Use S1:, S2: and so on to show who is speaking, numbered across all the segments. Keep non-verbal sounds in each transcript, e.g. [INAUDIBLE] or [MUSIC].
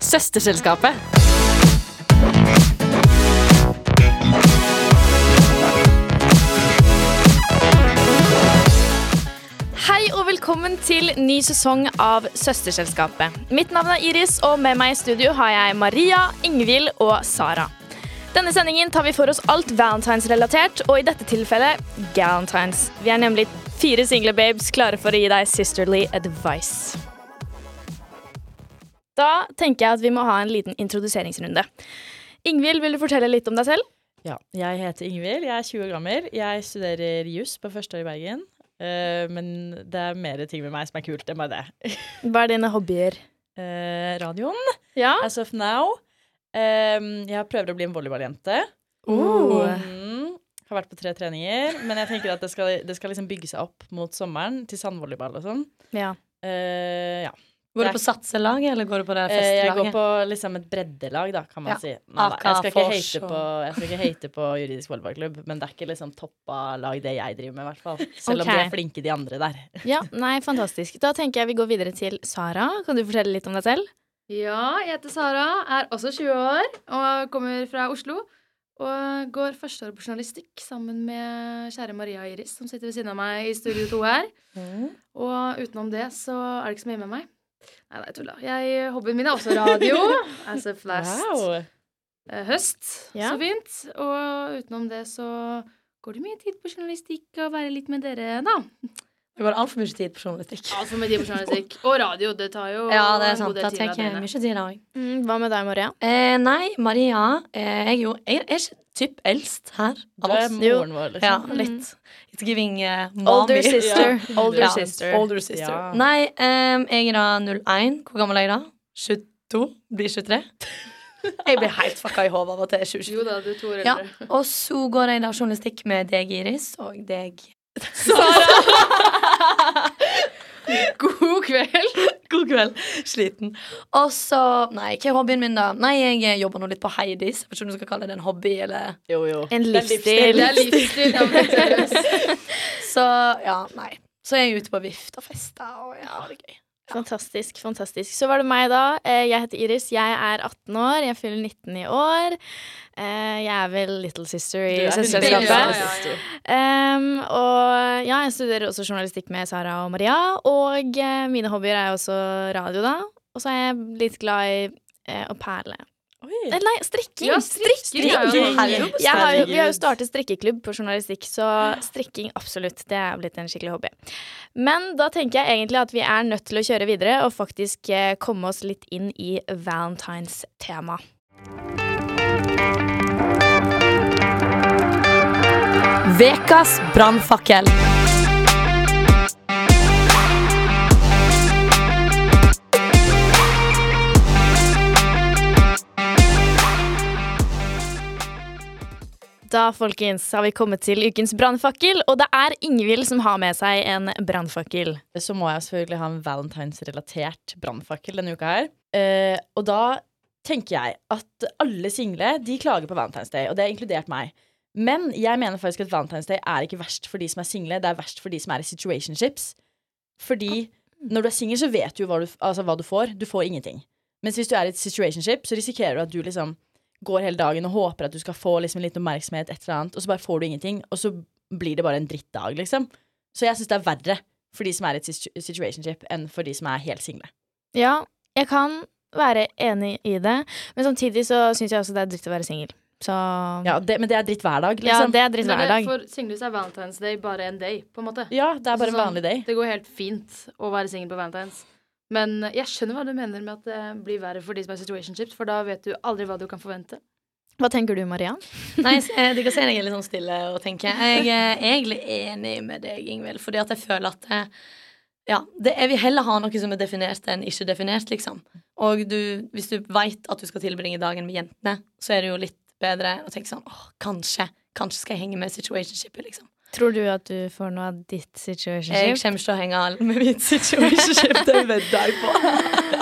S1: Søsterselskapet.
S2: Hei og velkommen til ny sesong av Søsterselskapet. Mitt navn er Iris, og med meg i studio har jeg Maria, Ingvild og Sara. Denne sendingen tar vi for oss alt valentines-relatert, og i dette tilfellet galentines. Vi er nemlig fire single babes klare for å gi deg sisterly advice. Da tenker jeg at vi må ha en liten introduseringsrunde. Ingvild, vil du fortelle litt om deg selv?
S3: Ja, jeg heter Ingvild, jeg er 20 år gammel. Jeg studerer juss på første år i Bergen. Eh, men det er mer ting med meg som er kult enn bare det.
S2: Hva er dine hobbyer?
S3: Eh, radioen,
S2: Ja.
S3: as of now. Eh, jeg prøver å bli en volleyballjente.
S2: Oh. Uh.
S3: Mm. Har vært på tre treninger. Men jeg tenker at det skal, det skal liksom bygge seg opp mot sommeren, til sandvolleyball og sånn.
S2: ja.
S3: Eh, ja.
S4: Går du på satselaget, eller går du på det
S3: Eh, jeg går
S4: festelaget?
S3: på liksom et breddelag, da, kan man
S4: Ja. Ah,
S3: si. Nei, da, jeg, skal ikke
S4: Akafors
S3: hate
S4: og-
S3: på, jeg skal ikke hate på juridisk volleyballklubb, men det er ikke liksom toppa lag det jeg driver med, i hvert fall. Selv om de
S2: Ok.
S3: er flinke, de andre der.
S2: Ja, nei, fantastisk. Da tenker jeg vi går videre til Sara. Kan du fortelle litt om deg selv?
S5: Ja, jeg heter Sara, er også 20 år og kommer fra Oslo. Og går førsteåret på journalistikk sammen med kjære Maria Iris, som sitter ved siden av meg i Studio 2 her.
S4: Mm.
S5: Og utenom det så er det ikke så mye med meg. Nei, nei, tulla. Jeg- Hobbyen min er også
S4: [LAUGHS]
S5: radio. As a flast.
S3: Wow.
S5: Eh, Høst.
S2: Ja.
S5: Så fint. Og utenom det så går det mye tid på journalistikk og være litt med dere, da.
S4: Det går altfor mye tid på journalistikk.
S5: Altfor mye tid på journalistikk. Og radio, det tar jo
S4: Ja, det er
S5: en god
S4: sant.
S5: del
S4: Da
S5: tid av
S4: tenker jeg
S5: døgnet.
S4: mye tid da òg.
S2: Mm, hva med deg, Maria?
S4: Eh, nei, Maria eh, jeg, er jo, jeg er ikke typ eldst her
S3: Du
S4: av
S3: er
S4: oss.
S3: moren vår, liksom.
S4: Ja, litt. It's giving eh, mommy.
S2: Older sister.
S3: [LAUGHS]
S2: Older
S4: Ja.
S2: sister.
S4: Older sister.
S3: Ja.
S4: Nei, ehm, jeg er da 01. Hvor gammel er jeg da? 22? Blir 23? Jeg blir helt fucka i hodet av at det er 2020.
S5: Jo da, du er to år
S4: Ja.
S5: eldre.
S4: Og så går jeg da journalistikk med deg, Iris, og deg.
S5: [LAUGHS] God kveld!
S4: God kveld. Sliten. Og så Nei, hva er hobbyen min, da? Nei, jeg jobber nå litt på Heidis. Jeg vet ikke om du skal kalle det en hobby, eller
S3: Jo, jo.
S2: En
S3: Det er
S2: livsstil.
S5: Det er livsstil.
S3: [LAUGHS]
S5: ja, men seriøst.
S4: Så ja, nei. Så er jeg ute på vift og fester, og jeg har det gøy.
S2: Fantastisk, fantastisk. Så var det meg, da. Eh, Jeg heter Iris. Jeg er 18 år. Jeg fyller 19 i år. Eh, Jeg er vel little sister i
S3: Du er
S2: søsterselskapet.
S5: Ja, ja, ja.
S2: Em, og ja, jeg studerer også journalistikk med Sara og Maria. Og eh, mine hobbyer er jo også radio, da. Og så er jeg litt glad i eh, å perle.
S3: Oi.
S2: Eh, Nei, strikking!
S5: Ja,
S2: strikking!
S5: strikking er jo
S4: Strikking.
S5: noe herlig.
S2: Jeg har, jo-
S3: Herregud.
S2: vi har jo startet strikkeklubb på journalistikk, så strikking absolutt. Det er blitt en skikkelig hobby. Men da tenker jeg egentlig at vi er nødt til å kjøre videre og faktisk eh, komme oss litt inn i valentines-tema.
S4: Vekas brannfakkel.
S2: Da folkens, har vi kommet til ukens brannfakkel, og det er Ingvild som har med seg en brannfakkel.
S3: Så må jeg selvfølgelig ha en valentinsrelatert brannfakkel denne uka her. Eh, og da tenker jeg at alle single de klager på Valentine's Day, og det har inkludert meg. Men jeg mener faktisk at Valentine's Day er ikke verst for de som er single, det er verst for de som er i situationships. Fordi når du er singel, så vet du hva du, altså, hva du får. Du får ingenting. Mens hvis du er i et situationship, så risikerer du at du liksom går hele dagen og håper at du skal få liksom litt oppmerksomhet, et eller annet, og så bare får du ingenting. Og så blir det bare en drittdag, liksom. Så jeg syns det er verre for de som er i et situ- situationship, enn for de som er helt single.
S2: Ja, jeg kan være enig i det, men samtidig så syns jeg også det er dritt å være singel. Så
S3: Ja, det, men det er dritt hver dag,
S2: ja,
S3: liksom.
S2: det er dritt
S5: Men
S2: hver
S5: det,
S2: dag.
S5: for singlehus er Valentine's Day bare en day, på en måte.
S3: Ja, det er bare en
S5: Sånn,
S3: vanlig
S5: [LAUGHS]
S3: day.
S5: Det går helt fint å være singel på Valentine's. Men jeg skjønner hva du mener med at det blir verre for de som er situationships, for da vet du aldri hva du kan forvente.
S2: Hva tenker du, Mariann?
S4: Nei, s- eh, det kan se deg litt sånn stille og tenke. Jeg er egentlig enig med deg, Ingvild, fordi at jeg føler at eh, ja, det, jeg vil heller ha noe som er definert enn ikke definert, liksom. Og du, hvis du veit at du skal tilbringe dagen med jentene, så er det jo litt bedre å tenke sånn åh, kanskje. Kanskje skal jeg henge med situationshipet, liksom.
S2: Tror du at du får noe av ditt
S4: Jeg
S2: situationship?
S4: kommer ikke til å henge med mitt situationship, det vedder jeg på.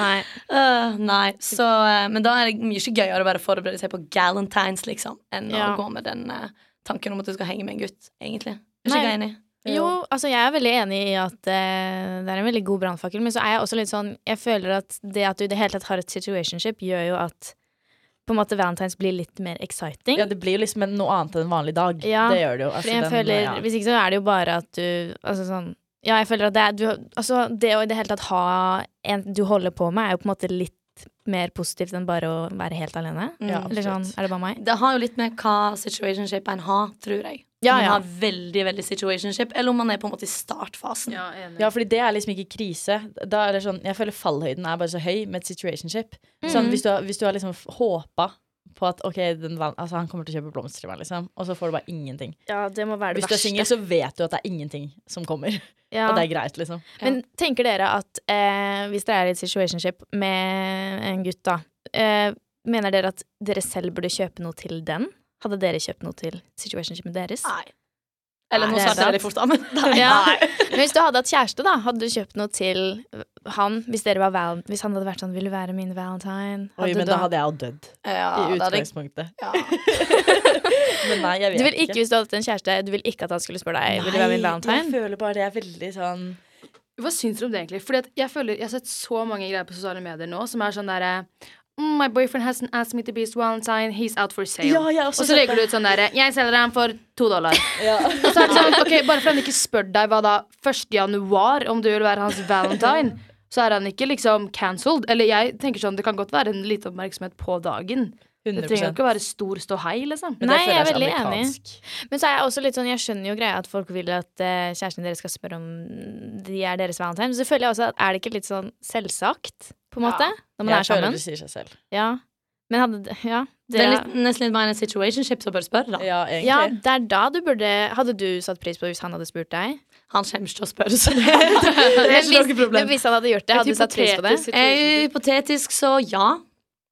S2: Nei.
S4: Øh, nei, så eh, Men da er det mye ikke gøyere å bare forberede seg på galentines, liksom, enn
S2: Ja.
S4: å gå med den eh, tanken om at du skal henge med en gutt, egentlig. Jeg er
S2: Nei.
S4: ikke enig.
S2: Jo, altså jeg er veldig enig i at eh, det er en veldig god brannfakkel, men så er jeg også litt sånn Jeg føler at det at du i det hele tatt har et situationship, gjør jo at på en måte Valentine's blir litt mer exciting.
S3: Ja, det blir jo liksom en- noe annet enn en vanlig dag.
S2: Ja,
S3: det gjør det jo. Altså,
S2: Fordi jeg
S3: den-
S2: føler,
S3: ja.
S2: Hvis ikke så er det jo bare at du Altså sånn Ja, jeg føler at det er du, har- Altså, det å i det hele tatt ha en du holder på med, er jo på en måte litt mer positivt enn bare å være helt alene.
S3: Ja,
S2: Eller sånn,
S3: absolutt.
S2: er det bare meg?
S4: Det har jo litt med hva situationship en har, tror jeg.
S2: Ja,
S4: Om man
S2: ja.
S4: har veldig, veldig situationship, eller om man er på en måte i startfasen.
S5: Ja, enig.
S3: Ja, fordi det er liksom ikke krise. Da er det sånn, jeg føler fallhøyden er bare så høy med et situationship.
S2: Mm.
S3: Sånn, hvis, du har, hvis du har liksom håpa på at ok, den, van- altså, han kommer til å kjøpe blomster til meg, liksom, og så får du bare ingenting.
S2: Ja, det må være
S3: Hvis du er singel, så vet du at det er ingenting som kommer.
S2: Ja.
S3: Og det er greit, liksom.
S2: Men tenker dere at eh, hvis dere er i et situationship med en gutt, da eh, Mener dere at dere selv burde kjøpe noe til den? Hadde dere kjøpt noe til situationshipen deres?
S4: Nei. Eller
S2: Nei,
S4: nå
S2: det er
S4: sa jeg det
S2: sant.
S4: veldig fort, da, [LAUGHS] men nei.
S2: Ja.
S4: nei.
S2: Men hvis du hadde hatt kjæreste, da, hadde du kjøpt noe til han? Hvis, dere var val hvis han hadde vært sånn 'Vil du være min valentine'?
S3: Oi, men da hadde jeg jo dødd.
S4: Ja,
S3: I
S4: da hadde jeg-
S3: utgangspunktet.
S4: ja.
S3: Men nei, jeg vet
S2: Du vil ikke, hvis du hadde hatt en kjæreste, du vil ikke at han skulle spørre deg 'Vil du være min
S3: Jeg
S2: valentine'?
S3: føler bare det er veldig sånn
S5: Hva syns dere om det, egentlig? Fordi at jeg, føler, jeg har sett så mange greier på sosiale medier nå som er sånn derre mm, My boyfriend hasn't asked me to be his valentine. He's out for sale.
S3: Ja, jeg har
S5: og
S3: også
S5: så
S3: sett
S5: legger du ut sånn derre Jeg selger ham for to dollar.
S3: ja.
S5: Og så er det sånn, ok, Bare for han ikke spør deg hva da 1. januar om du vil være hans valentine, så er han ikke liksom cancelled. Eller jeg tenker sånn, det kan godt være en liten oppmerksomhet på dagen. Det
S3: 100
S5: trenger jo ikke å være stor ståhei, liksom.
S3: Men det
S2: Nei,
S3: føler
S2: jeg er
S3: så
S2: veldig enig.
S3: amerikansk.
S2: Men så er jeg også litt sånn, jeg skjønner jo greia at folk vil at eh, kjæresten deres skal spørre om de er deres valentine. Men så føler jeg også at er det ikke litt sånn selvsagt, på en måte? Når man
S3: Jeg
S2: er
S3: føler
S2: sammen.
S3: det sier seg selv.
S2: Ja. Men hadde Ja.
S4: Det
S2: Det,
S4: er litt, nesten litt mer enn en situationship som bør spørre, da.
S3: Ja, egentlig.
S2: ja, det er da du burde Hadde du satt pris på det hvis han hadde spurt deg?
S4: Han kommer ikke til å spørre, så det
S2: Men
S4: ikke noe
S2: hvis,
S4: problem.
S2: men hvis han hadde gjort det, hadde du satt pris på det?
S4: Eh, Hypotetisk, så ja.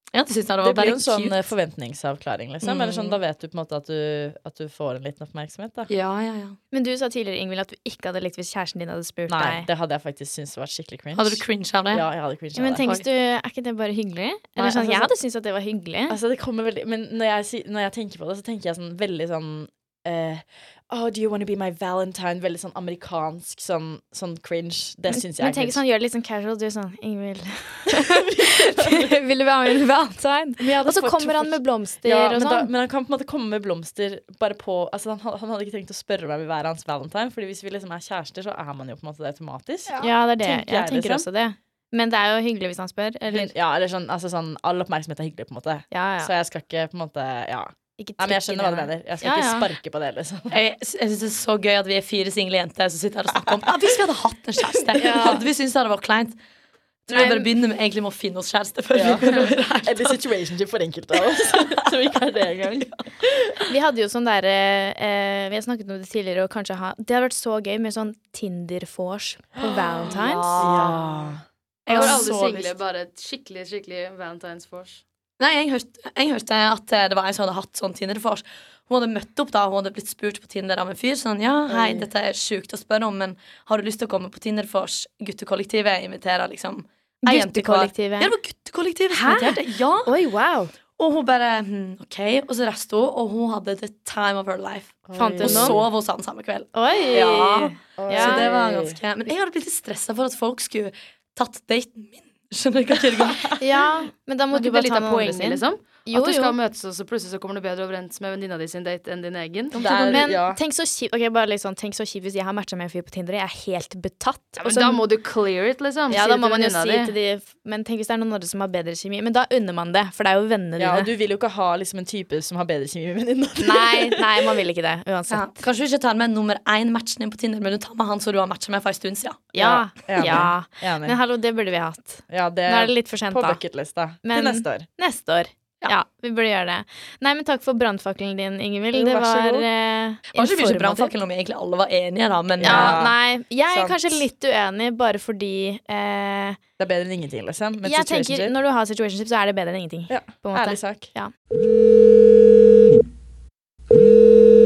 S4: Jeg hadde syntes det
S3: Det
S4: var
S3: blir
S4: bare
S3: jo en sånn
S4: cute.
S3: eh, forventningsavklaring, liksom. Eller sånn, da vet du på en måte at du, at du får en liten oppmerksomhet, da.
S4: Ja, ja, ja.
S2: Men du sa tidligere, Ingvild, at du ikke hadde likt hvis kjæresten din hadde spurt
S3: Nei,
S2: deg.
S3: det hadde jeg faktisk syntes var skikkelig cringe.
S4: Hadde du cringe av det?
S3: Ja, jeg hadde cringe
S2: Ja, men
S3: av det.
S2: tenk hvis du Er ikke det bare hyggelig? Eller
S3: Nei,
S2: sånn, jeg
S3: altså, så-
S2: hadde syntes at det var hyggelig.
S3: Altså, det kommer veldig Men når jeg, si- når jeg tenker på det, så tenker jeg sånn veldig sånn eh, Oh, do you want to be my valentine? Veldig sånn amerikansk, sånn, sånn cringe. Det syns jeg
S2: Men
S3: er
S2: tenk
S3: cringe.
S2: sånn, gjør det litt sånn casual. Du er sånn
S3: [LAUGHS]
S2: Ingvild [LAUGHS] Vil du være med i valentine?
S3: Men jeg hadde
S2: Og så
S3: fått-
S2: kommer han med blomster
S3: ja,
S2: og
S3: men, da,
S2: sånn.
S3: men han kan på en måte komme med blomster bare på Altså, han, han hadde ikke trengt å spørre om jeg vil være hans valentine, Fordi hvis vi liksom er kjærester, så er man jo på en måte det automatisk.
S2: ja, det er det.
S3: Tenker
S2: jeg,
S3: jeg,
S2: tenker
S3: liksom.
S2: også det. Men det er jo hyggelig hvis han spør. Eller
S3: Ja, eller sånn, altså sånn All oppmerksomhet er hyggelig, på en måte.
S2: ja,
S3: Så
S2: ja.
S3: jeg skal ikke på en måte Ja.
S2: Ikke
S3: Nei, men jeg
S2: trykk i
S3: skjønner hva du
S2: det,
S3: mener. Jeg skal
S2: Ja,
S3: ikke
S2: ja.
S3: sparke på det, liksom.
S4: Jeg, jeg synes det er så gøy at vi er fire single jenter som sitter her og snakker
S3: [LAUGHS]
S4: om ah, Hvis vi hadde hatt en kjæreste, hadde vi syntes det hadde vært kleint? Tror vi bare begynner med, egentlig med å finne oss kjæreste før
S3: Ja.
S4: vi prøver
S3: [LAUGHS]
S4: her.
S3: [LAUGHS] Eller situationship for enkelte av [LAUGHS] oss. Som ikke er det engang.
S2: Vi hadde jo sånn derre eh, Vi har snakket om det tidligere, og kanskje ha Det hadde vært så gøy med sånn Tinder-vors på [GASPS] valentines.
S3: Ah,
S5: Jeg har
S4: har
S5: alle
S4: så
S5: single
S4: lyst.
S5: bare et skikkelig, skikkelig Valentine's Force.
S4: Nei, jeg hørte, jeg hørte at eh, det var en som hadde hatt sånn Tinder-fors. Hun hadde møtt opp da, hun hadde blitt spurt på Tinder av en fyr. Sånn, ja, hei, dette er sjukt å spørre om, men har du lyst til å komme på Tinder-fors? Guttekollektivet inviterer liksom ei jente hver.
S2: Guttekollektivet.
S4: Ja, det var guttekollektivet som inviterte. Ja.
S2: Oi, wow!
S4: Og hun bare hm, OK. Og så reiste hun, og hun hadde the time of her life.
S2: Fant
S4: Og
S2: hun noe?
S4: sov hos han samme kveld.
S2: Oi!
S4: Ja.
S2: Ja.
S4: Så det var ganske Men jeg hadde blitt litt stressa for at folk skulle tatt daten min. Skjønner du hva jeg mener?
S2: Ja, men da må
S5: Er
S2: du
S5: ikke det
S2: bare
S5: litt
S2: ta
S5: av
S2: noen andre
S5: poenget,
S2: sin.
S5: liksom?
S2: Jo,
S5: At du
S2: jo.
S5: skal møtes, og så plutselig så kommer du bedre overens med venninna di sin date enn din egen.
S3: Det er,
S2: Men
S3: ja.
S2: tenk så kjipt Ok, bare litt sånn, tenk så kjipt hvis jeg har matcha med en fyr på Tinder, og jeg er helt betatt.
S5: Ja,
S2: og
S5: men
S2: så-
S5: da må du clear it, liksom.
S2: ja,
S5: Si
S2: da
S5: det
S2: må
S5: til
S2: man jo
S5: venninna
S2: si
S5: di.
S2: til de Men tenk hvis det er noen andre som har bedre kjemi. Men da unner man det, for det er jo vennene
S3: ja,
S2: dine.
S3: og du vil jo ikke ha liksom, en type som har bedre kjemi med [LAUGHS] venninna di.
S2: Nei, nei, man vil ikke det.
S4: Ja.
S2: Uansett.
S4: Kanskje du ikke tar med nummer én matchen din på Tinder, men du tar med han som du har matcha med for en stund siden.
S2: Ja. ja.
S3: enig. Enig.
S2: Men hallo, det burde vi hatt.
S3: Ja, det
S2: Nå er det litt for sent,
S3: Eh, på
S2: da.
S3: bucketlista
S2: Men-
S3: til neste år.
S2: Neste år. Ja.
S4: Ja.
S2: vi burde gjøre det. Nei, men takk for brannfakkelen din, Ingevild.
S3: Jo,
S2: Det
S3: vær så
S2: var
S3: god.
S2: eh,
S4: Det var ikke mye
S2: informativt.
S4: brannfakkel om egentlig alle var enige, da, men
S2: Ja,
S3: Ja,
S2: nei, jeg er
S3: sant.
S2: kanskje litt uenig, bare fordi eh,
S3: Det er bedre enn ingenting, liksom. Men
S2: Jeg tenker
S3: situationship-
S2: når du har situationship, så er det bedre enn ingenting.
S3: ja,
S2: På en måte.
S3: Ærlig sak.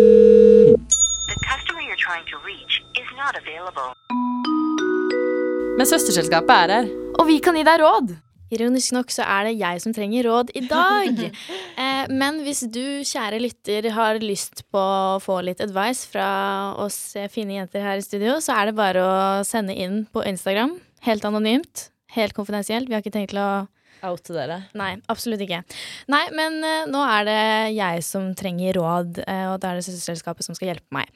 S1: The customer you're trying to reach is not available.
S4: eh,
S3: Men
S4: sånn.
S3: søsterselskapet er her.
S2: Og vi kan gi deg råd. Ironisk nok så er det jeg som trenger råd i dag. eh, Eh, men hvis du, kjære lytter, har lyst på å få litt advice fra oss eh, fine jenter her i studio, så er det bare å sende inn på Instagram. Helt anonymt. Helt konfidensielt. Vi har ikke tenkt til å
S3: Out til dere.
S2: Nei, absolutt ikke. Nei, men eh, nå er det jeg som trenger råd, eh, og da er det søsterselskapet som skal hjelpe meg.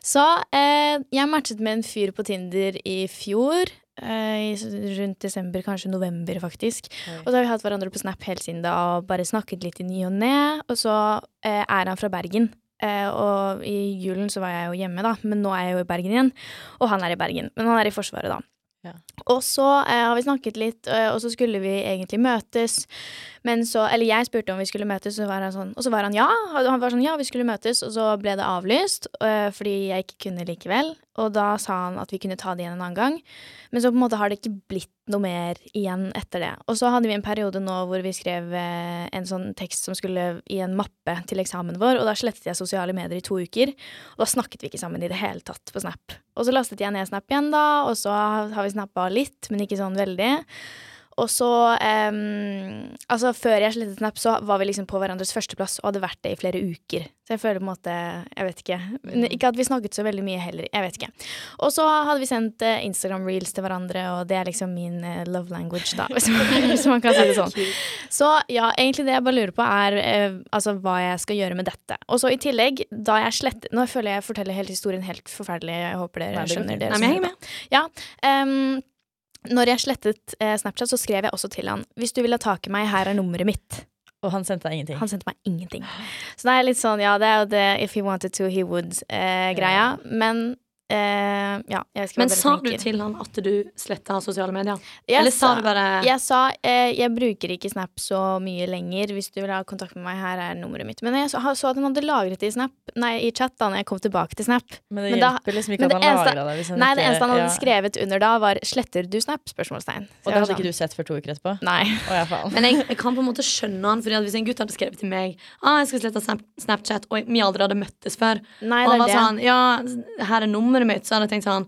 S2: Så eh, jeg matchet med en fyr på Tinder i fjor. eh, i s- rundt desember, kanskje november, faktisk. Og da har vi hatt hverandre på Snap helt siden da og bare snakket litt i ny og ne. Og så eh, er han fra Bergen. Eh, og i julen så var jeg jo hjemme, da, men nå er jeg jo i Bergen igjen. Og han er i Bergen, men han er i Forsvaret, da.
S3: Ja.
S2: Og så eh, har vi snakket litt, eh, og så skulle vi egentlig møtes. Men så, eller jeg spurte om vi skulle møtes, og så var han sånn, og så var han ja. Og Han var sånn, ja, vi skulle møtes, og så ble det avlyst eh, fordi jeg ikke kunne likevel. Og da sa han at vi kunne ta det igjen en annen gang. Men så på en måte har det ikke blitt noe mer igjen etter det. Og så hadde vi en periode nå hvor vi skrev eh, en sånn tekst som skulle i en mappe til eksamen vår, og da slettet jeg sosiale medier i to uker. Og da snakket vi ikke sammen i det hele tatt på Snap. Og så lastet jeg ned Snap igjen da, og så har vi snappa litt, men ikke sånn veldig. Og så em, Altså, før jeg slettet Snap, så var vi liksom på hverandres førsteplass og hadde vært det i flere uker. Så jeg føler på en måte Jeg vet ikke. Men Ikke at vi snakket så veldig mye heller. Jeg vet ikke. Og så hadde vi sendt eh, Instagram-reels til hverandre, og det er liksom min eh, love language, da, [LAUGHS] hvis man, hvis man kan si det sånn. Så ja, egentlig det jeg bare lurer på, er eh, altså hva jeg skal gjøre med dette. Og så i tillegg, da jeg slettet Nå føler jeg jeg forteller hele historien helt forferdelig, jeg håper dere
S3: Nei, det går
S2: skjønner
S3: fint.
S2: dere.
S4: Nei,
S2: som
S4: men jeg
S2: hører på.
S4: henger med.
S2: Em, når jeg slettet eh, Snapchat, så skrev jeg også til han Hvis du vil ha tak i meg, her er nummeret mitt.
S3: Og han sendte deg ingenting.
S2: Han sendte meg ingenting. Så da er jeg litt sånn, ja, det er jo det if he wanted to, he would-greia.
S3: Ja.
S2: Men eh, ja, jeg vet ikke hva
S4: Men
S2: dere
S4: sa du
S2: tenker.
S4: til han at du sletta sosiale medier?
S2: Jeg
S4: Eller sa du bare
S2: Jeg sa eh, jeg bruker ikke Snap så mye lenger. Hvis du vil ha kontakt med meg, her er nummeret mitt. Men jeg så, så at han hadde lagret det i, Snap, nei, i chat da når jeg kom tilbake til Snap.
S3: Men det
S2: Men da-
S3: hjelper liksom ikke
S2: men
S3: at
S2: det
S3: han
S2: eneste-
S3: lagra det. Hvis
S2: Nei, det eneste han hadde
S3: ja.
S2: skrevet under da, var 'sletter du Snap?' spørsmålstegn. Så jeg
S3: Og det
S2: var
S3: hadde
S2: sånn,
S3: ikke du sett før to uker etterpå?
S2: Nei.
S3: Å ja, faen.
S4: Men jeg, jeg kan på en måte skjønne han Fordi at hvis en gutt hadde skrevet til meg ah, jeg skal slette Snap- Snapchat, og vi aldri hadde møttes før
S2: nei, det
S4: Og han
S2: er
S4: var
S2: det.
S4: sånn Ja, her er nummeret mitt. Så hadde jeg tenkt sånn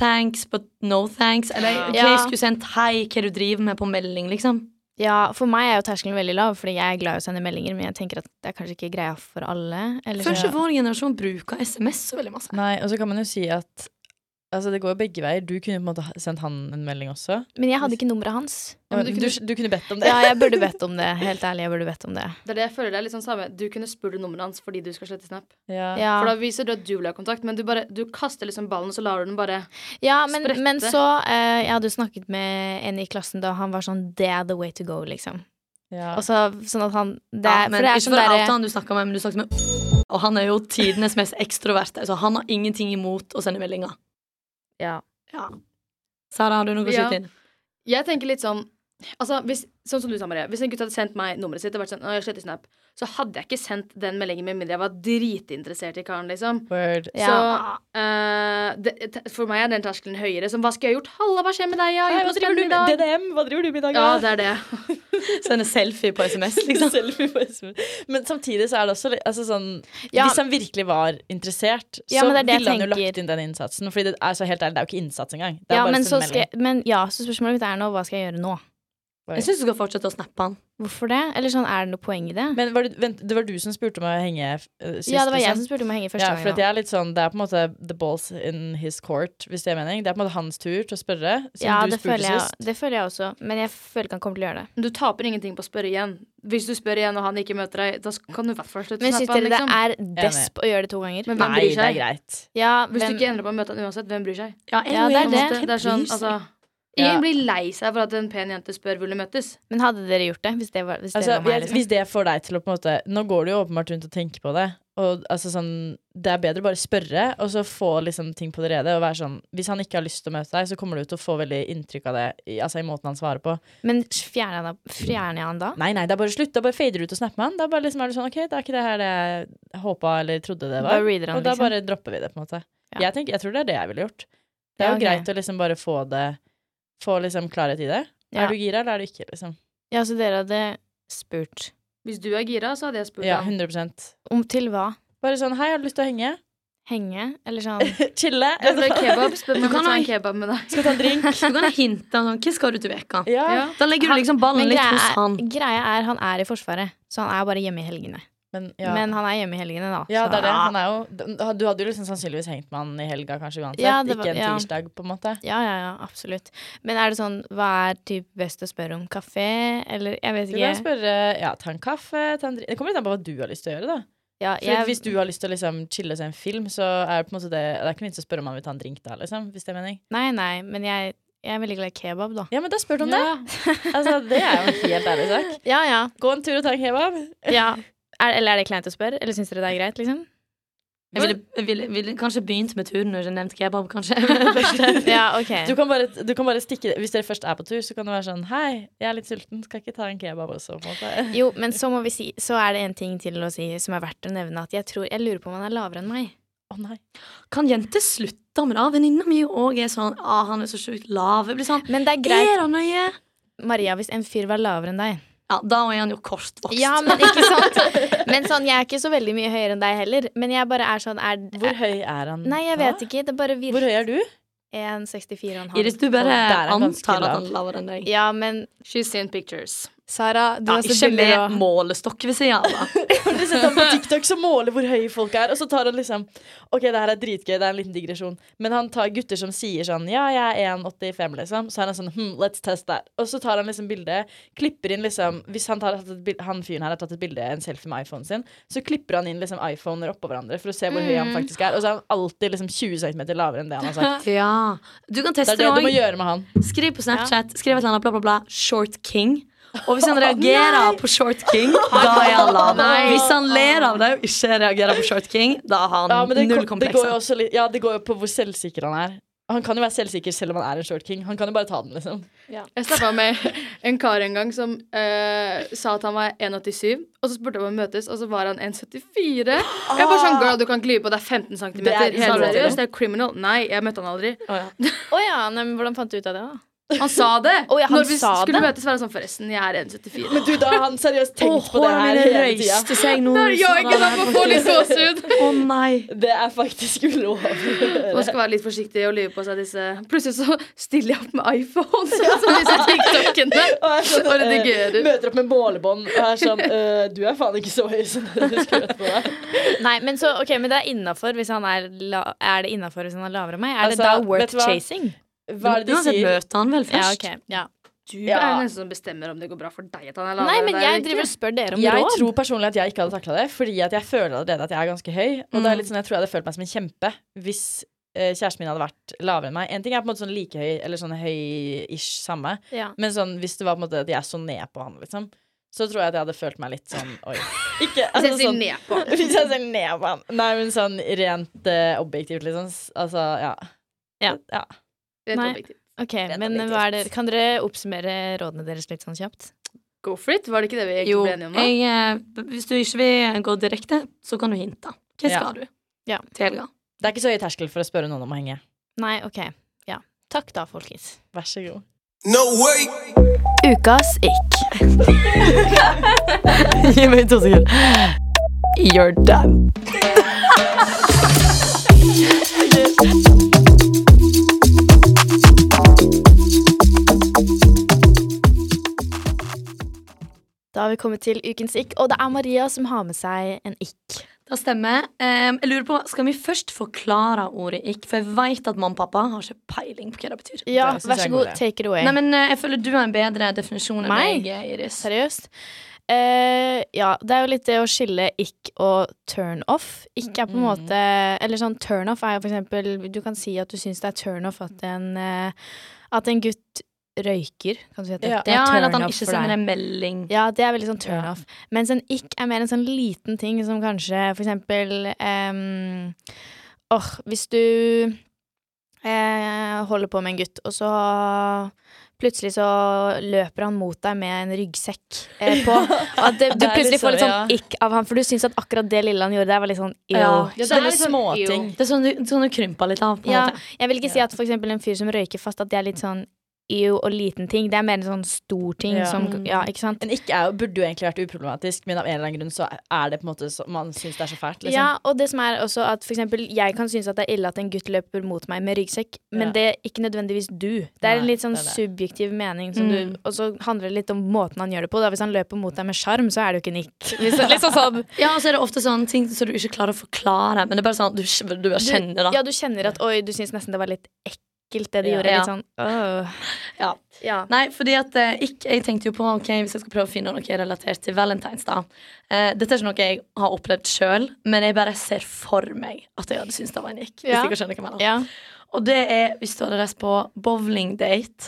S4: Thanks, but no thanks. Eller hva
S2: Ja.
S4: jeg skulle sendt Hei, hva du driver med på melding, liksom.
S2: Ja, for meg er jo terskelen veldig lav, fordi jeg er glad i å sende meldinger, men jeg tenker at det er kanskje ikke greia for alle. Eller
S4: Føler
S2: så,
S4: ikke vår generasjon bruker SMS så veldig masse.
S3: Nei, og så kan man jo si at Altså, det går jo begge veier. Du kunne på en måte ha- sendt han en melding også.
S2: Men jeg hadde ikke nummeret hans.
S3: [LAUGHS] Og
S5: men du
S3: du,
S5: kunne-
S3: du, kunne bedt om det.
S2: Ja, jeg burde bedt om det. Helt ærlig, jeg burde bedt om det.
S5: Det er det jeg føler det er litt sånn samme. Du kunne spurt nummeret hans fordi du skal slette Snap.
S3: Ja.
S2: Ja.
S5: For da viser du at du vil ha kontakt, men du, bare, du kaster liksom ballen, og så lar du den bare
S2: Ja, men,
S5: Sprette.
S2: men så eh, Jeg hadde jo snakket med en i klassen da han var sånn Det er the way to go, liksom.
S3: Ja.
S2: Og så, sånn at han det,
S4: Ja,
S2: er-
S4: men
S2: For det er
S4: ikke
S2: sånn
S4: for å
S2: derre
S4: oute han du snakket med, men du snakket med Og han er jo tidenes mest ekstroverte, så han har ingenting imot å sende meldinger.
S2: ja.
S4: Ja. Sara, har du noe å
S5: Ja.
S4: skyte inn?
S5: Jeg tenker litt sånn Altså, hvis, sånn som du sa, Maria. Hvis en gutt hadde sendt meg nummeret sitt og vært sånn «Å, jeg sletter Snap, så hadde jeg ikke sendt den meldingen med mindre jeg var dritinteressert i karen, liksom.
S3: Word.
S5: Så
S2: Ja.
S5: eh, det, te- for meg er den terskelen høyere. Som hva skulle jeg gjort? Halla, hva skjer med deg? Ja,
S3: Nei, hva
S5: jeg er på
S3: driver du
S5: stranden i
S3: med?
S5: dag.
S3: DDM, hva driver du med i dag?
S5: Ja,
S3: da? [LAUGHS]
S5: det er det.
S4: Sende selfie på SMS, liksom.
S3: Selfie på SMS. Men samtidig så er det også litt- altså sånn
S2: Ja.
S3: Hvis han virkelig var interessert,
S2: Ja,
S3: så
S2: men det er det jeg
S3: ville han jo
S2: tenker.
S3: lagt inn den innsatsen. Fordi det er så helt ærlig, det er jo ikke innsats engang. Det er
S2: Ja,
S3: bare
S2: men,
S3: å
S2: så
S3: sende
S2: skal,
S3: melding.
S2: jeg- men ja, så spørsmålet mitt er nå hva skal jeg gjøre nå?
S4: Jeg syns du skal fortsette å snappe han.
S2: Hvorfor det? Eller sånn, er det noe poeng i det?
S3: Men var det, vent, det var du som spurte om å henge uh, sist?
S2: ja, det var jeg
S3: liksom?
S2: som spurte om å henge første
S3: Ja,
S2: gangen
S3: for at
S2: nå.
S3: jeg er litt sånn, Det er på en måte the balls in his court, hvis det er mening. Det er på en måte hans tur til å spørre. Siden
S2: Ja,
S3: du
S2: det
S3: spurte
S2: føler, jeg,
S3: sist.
S2: det føler jeg også, men jeg føler ikke han kommer til å gjøre det.
S5: Du taper ingenting på å spørre igjen. Hvis du spør igjen, og han ikke møter deg, da kan du i hvert fall slutte
S2: Men
S5: å
S2: syns
S5: snappe han,
S2: dere det
S5: liksom.
S2: er desp å gjøre det to ganger?
S5: Men hvem
S3: Nei,
S5: bryr
S3: det er
S5: seg?
S3: greit.
S2: Ja,
S5: Hvis du
S2: hvem-
S5: ikke endrer på å møte han uansett, hvem bryr seg?
S4: jeg
S2: Ja,
S4: og
S2: det er
S4: jeg,
S2: det.
S4: hvem
S5: Det er sånn,
S4: bryr seg?
S5: altså
S3: Ja.
S5: Ingen blir lei seg for at en pen jente spør vil du møttes.
S2: Men hadde dere gjort det? Hvis det var, hvis
S3: Altså,
S2: det var meg,
S3: jeg-
S2: liksom?
S3: Hvis det får deg til å på en måte Nå går du jo åpenbart rundt og tenker på det. Og altså sånn Det er bedre å bare spørre, og så få liksom ting på det rede. Og være sånn Hvis han ikke har lyst til å møte deg, så kommer du til å få veldig inntrykk av det i, altså, i måten han svarer på.
S2: Men fjerner jeg, da, fjerner jeg han da?
S3: Nei, nei, det er bare slutt. Da bare fader du ut og snapper med han. Da bare liksom er du sånn OK, det er ikke det her det jeg håpa eller trodde
S2: Da
S3: det var.
S2: reader han,
S3: og da
S2: liksom.
S3: bare dropper vi det, på en måte.
S2: Ja.
S3: Jeg, tenker, jeg tror det er det jeg ville gjort. Det er
S2: Ja,
S3: jo
S2: ok.
S3: greit å liksom bare få det Få liksom klarhet i det.
S2: Ja.
S3: Er du gira, eller er du ikke? liksom
S2: Ja, så dere hadde spurt
S5: Hvis du er gira, så hadde jeg spurt
S3: Ja,
S5: han.
S3: 100
S2: om til hva? [LAUGHS]
S3: Bare sånn 'Hei, har du lyst til å henge?'
S2: Henge? Eller
S3: [LAUGHS]
S2: sånn
S3: Chille.
S5: Det ble kebab. Spør meg
S4: Du
S5: om jeg
S4: kan
S5: tar
S4: ha-
S5: en kebab med deg.
S3: Skal vi ta en drink?
S4: Du kan hinte sånn, hva skal du til veka?
S3: [LAUGHS] Ja.
S5: Ja.
S4: Da legger du liksom ballen
S2: Men
S4: litt
S2: greia,
S4: hos han.
S2: er- greia er, han er i Forsvaret, så han er bare hjemme i helgene.
S3: Men, ja.
S2: Men han er hjemme i helgene, da.
S3: ja,
S2: så-
S3: det er det. Han er jo, du hadde jo liksom sannsynligvis hengt med han i helga, kanskje uansett.
S2: Ja, det var-
S3: Ikke en
S2: ja.
S3: tirsdag, på en måte.
S2: Ja, ja, ja, absolutt. Men er det sånn, hva er typ best å spørre om? Kafé, eller jeg vet
S3: Du kan
S2: ikke.
S3: spørre Ja, ta en kaffe, ta en drink Det kommer litt an på hva du har lyst til å gjøre, da.
S2: Ja,
S3: For Hvis du har lyst til å liksom chille og se en film, så er det på en måte det Det er ikke minst å spørre om man vil ta en drink da, liksom. Hvis det er mening.
S2: Nei, nei, men jeg, jeg er veldig glad i kebab, da.
S3: Ja, men da spør du om
S5: Ja.
S3: det. [LAUGHS] Altså, det er jo en helt ærlig sak.
S2: Ja, ja.
S3: Gå en tur og ta en kebab.
S2: ja. Er, eller er det kleint å spørre? Eller syns dere det er greit,
S3: [LAUGHS]
S2: liksom?
S4: Jeg ville, jeg ville, ville kanskje begynt med turen og ikke nevnt kebab, kanskje. [LAUGHS]
S2: Ja,
S3: Du
S2: ok.
S3: kan, bare, du kan bare stikke Hvis dere først er på tur, så kan det være sånn Hei, jeg er litt sulten, skal ikke ta en kebab også, på
S2: [LAUGHS]
S3: en måte.
S2: Jo, men så må vi si Så er det en ting til å si som er verdt å nevne, at jeg tror Jeg lurer på om han er lavere enn meg.
S3: Å nei.
S4: Kan jenter slutte med det? Venninna mi òg er sånn ah, 'Han er så sjukt lav'. Jeg blir sånn
S2: Men det er greit,
S4: Er det nøye?
S2: Maria, hvis en fyr var lavere enn deg.
S4: Ja, da er han jo kortvokst.
S2: Ja, men [LAUGHS] ikke sant? Men sånn, jeg er ikke så veldig mye høyere enn deg heller. Men jeg bare er sånn er,
S3: Hvor høy er han?
S2: Nei, jeg
S3: da?
S2: vet ikke. Det bare
S3: Hvor
S2: virker
S3: høy er du?
S2: 1,64,5.
S4: Iris, du bare
S3: Og der er han ganske
S4: antar at
S3: lav.
S4: han er lavere enn deg.
S2: Ja, men
S5: She's seen pictures.
S2: Sara, du
S4: Ja,
S2: er så
S4: ikke
S2: billig
S4: med
S2: og
S4: målestokk ved sida
S3: [LAUGHS]
S4: av. da.
S3: Har dere sett han på TikTok som måler hvor høye folk er? Og så tar han liksom Ok, det her er dritgøy, det er en liten digresjon. Men han tar gutter som sier sånn Ja, jeg er 1,85, liksom. Så er han sånn Hm, let's test that. Og så tar han liksom bilde, klipper inn liksom Hvis han, tar, bilde, han fyren her har tatt et bilde, en selfie med iPhonen sin, så klipper han inn liksom iPhoner oppå hverandre for å se hvor høy
S4: Mm.
S3: han faktisk er. Og så er han alltid liksom 20 cm lavere enn det han har
S4: [LAUGHS]
S3: sagt.
S4: Ja. Du kan
S3: Det
S4: teste
S3: er det du må
S4: òg.
S3: gjøre med han.
S4: Skriv på Snapchat. Skriv et eller annet bla, bla, bla. Short king. Og hvis han reagerer på short
S3: [LAUGHS]
S4: king, da er han lav.
S5: Nei.
S4: Hvis han ler av det og ikke reagerer på short king, da har
S3: Ja,
S4: han
S3: men det,
S4: null
S3: det går jo
S4: komplekser.
S3: også litt Ja, det går jo på hvor selvsikker han er. Han kan jo være selvsikker selv om han er en short king. Han kan jo bare ta den, liksom.
S5: Jeg snakka med en kar en gang som eh, sa at han var 1,87, og så spurte jeg om å møtes, og så var han 1,74. Jeg bare sånn, girl, du kan gli på deg 15 cm.
S3: Det er
S5: Helt
S3: utrolig.
S5: seriøst, det er criminal. Nei, jeg møtte han aldri.
S4: Å, ja.
S2: Å ja, nei, men hvordan fant du ut av det, da?
S5: Han sa det.
S2: Å, ja, han
S5: Når vi
S2: sa
S5: skulle
S2: det.
S5: møtes, var han sånn, forresten, jeg er 1,74.
S3: Men du, da har han seriøst tenkt
S4: Åh,
S3: på det
S4: håret
S3: her
S4: mitt
S3: hele tida.
S4: røyste seg nå.
S5: Nei, jeg ikke sant, man får litt gåsehud.
S4: Å nei.
S3: Det er faktisk ulovlig. å gjøre.
S5: Man skal være litt forsiktig og lyve på seg disse Plutselig så stiller jeg opp med [LAUGHS] iPhone, sånn som disse TikTokene.
S3: Og er sånn,
S5: Og
S3: eh,
S5: redigerer.
S3: møter opp med målebånd og er sånn eh, Du er faen ikke så høy som det du skulle hatt på deg.
S2: Nei, men så, ok, men det er innafor hvis han er la, Er det innafor hvis han er lavere enn meg? Er det
S3: Altså,
S2: da
S3: vet
S2: worth
S3: du hva?
S2: chasing?
S3: Hva er det de sier?
S4: Møte han vel
S2: Ja,
S4: først.
S2: ok. Ja.
S5: Du
S3: Ja.
S5: er den eneste som bestemmer om det går bra for deg at han er lavere
S2: Nei,
S5: enn
S2: men
S5: deg,
S2: jeg
S5: eller
S2: driver og
S5: ikke.
S2: spør dere om
S3: Jeg
S2: råd.
S3: tror personlig at jeg ikke hadde takla det, fordi at jeg føler allerede at jeg er ganske høy. Og det er litt sånn, jeg tror jeg hadde følt meg som en kjempe hvis eh, kjæresten min hadde vært lavere enn meg. En ting er på en måte sånn like høy, eller sånn høy-ish samme,
S2: Ja.
S3: men sånn hvis det var på en måte at jeg så ned på han, liksom, så tror jeg at jeg hadde følt meg litt sånn oi. Ikke,
S5: Hvis
S3: altså,
S5: jeg sier
S3: sånn,
S5: ned på han.
S3: [LAUGHS] Hvis jeg ser ned på han. Nei, men sånn rent eh, objektivt, liksom. s- Altså, ja.
S2: Ja.
S5: Rent
S2: Nei.
S5: objektivt.
S2: Ok, men
S3: litt
S2: hva er det, Kan dere oppsummere rådene deres litt sånn kjapt?
S5: Go for it, var det ikke det vi egentlig
S4: Jo,
S5: ble enige om nå?
S4: jeg, eh, hvis du ikke vil gå direkte, så kan du hinte. Hva skal
S3: Ja.
S4: du?
S2: Ja.
S4: Til helga.
S3: Det er ikke så høy terskel for å spørre noen om å henge.
S2: Nei, ok. Ja. Takk da, folkens.
S3: Vær så [LAUGHS] god.
S6: No way!
S2: Ukas ikk.
S4: Gi meg to sekunder. You're done.
S2: Da har vi kommet til ukens ikk, og det er Maria som har med seg en ikk.
S4: Det stemmer. Em, jeg lurer på, Skal vi først forklare ordet ikk? For jeg veit at mamma og pappa har ikke peiling på hva det betyr.
S2: Ja,
S3: Det synes
S2: vær
S3: jeg
S2: så
S3: er
S2: god,
S3: god, det.
S2: take it away.
S4: Nei, men eh, Jeg føler du har en bedre definisjon enn
S2: Meg?
S4: meg, Iris.
S2: Seriøst. Eh, ja, det er jo litt det å skille ikk og turn-off. Ikk er på en måte Eller sånn turn-off er jo for eksempel Du kan si at du syns det er turn-off at en eh, At en gutt røyker. Kan du si at det,
S3: Ja.
S2: det
S4: Ja,
S2: er
S4: eller at han
S2: turn-off
S4: ikke
S2: for
S4: sender
S2: deg?
S4: en melding.
S2: Ja, det er veldig sånn turn-off. Mens en ikk er mer en sånn liten ting som kanskje for eksempel ehm, Åh, hvis du eh, holder på med en gutt, og så plutselig så løper han mot deg med en ryggsekk [LAUGHS] eh, på. At det, du
S3: Det er
S2: plutselig
S3: liksom,
S2: får litt sånn
S3: ja.
S2: ikk av han, for du syns at akkurat det lille han gjorde der, var litt sånn ew.
S4: Ja.
S5: Ja, det er
S3: Sånne
S5: litt sånn,
S3: småting.
S4: Det er sånn du, sånn du krymper litt av. på en
S2: Ja,
S4: måte
S2: jeg vil ikke si at for eksempel en fyr som røyker fast, at det er litt sånn ew og liten ting. Det er mer en sånn stor ting
S3: Ja.
S2: som Ja, ikke sant?
S3: En ikke er, burde jo egentlig vært uproblematisk, men av en eller annen grunn så er det på en måte så, man syns det er så fælt. Liksom.
S2: Ja, og det som er også at for eksempel, jeg kan synes at det er ille at en gutt løper mot meg med ryggsekk, men
S3: Ja.
S2: det er ikke nødvendigvis du. Det er en
S3: Nei,
S2: litt sånn
S3: det er det.
S2: subjektiv mening, som
S3: Mm.
S2: du, og så handler det litt om måten han gjør det på. Da. Hvis han løper mot deg med sjarm, så er det jo ikke nikk. Hvis, litt sånn sånn,
S4: Ja, og så er det ofte sånn ting som du ikke klarer å forklare. Men det er bare sånn at du, du bare kjenner
S2: [LAUGHS] ja,
S4: det.
S2: du kjenner at oi, du synes nesten det var litt ekkelt det de
S3: Ja.
S2: gjorde.
S4: Ja.
S2: Litt sånn åh.
S4: Ja.
S2: Ja.
S4: Nei, fordi at eh, ikk- jeg tenkte jo på Ok, hvis jeg skal prøve å finne noe relatert til valentines, da. Eh, dette er ikke noe jeg har opplevd sjøl, men jeg bare ser for meg at jeg hadde syntes det var en ikk. Hvis
S2: Ja.
S4: dere skjønner hva jeg mener.
S2: Ja.
S4: Og det er hvis du hadde reist på bowlingdate.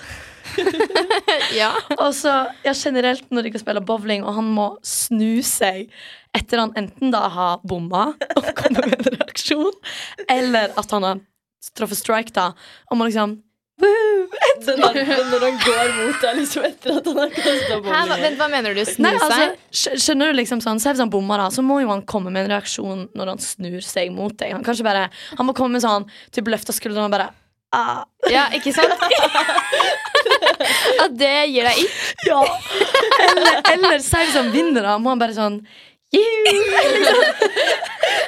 S2: ja.
S4: [LAUGHS] Og så, ja, generelt når de skal spille bowling, og han må snu seg etter han enten da har bomma og [LAUGHS] kommer med en reaksjon, eller at han har truffet strike, da, og må liksom Woo! Etter
S3: Den der, den når han går mot deg liksom etter at han har kasta
S2: Hæ, hva,
S3: bowlingen.
S2: vent, hva mener du? Snu
S4: Nei, altså,
S2: seg?
S4: skj- skjønner du liksom sånn, Se hvis han bommer, da, så må jo han komme med en reaksjon når han snur seg mot deg. Han kan ikke bare, han må komme med sånn typ løfte skuldrene og bare ah,
S2: Ja, ikke sant? [LAUGHS] At det gir deg ikk?
S4: Ja! Eller, eller si hvis han vinner, da, må han bare sånn «Juhu!»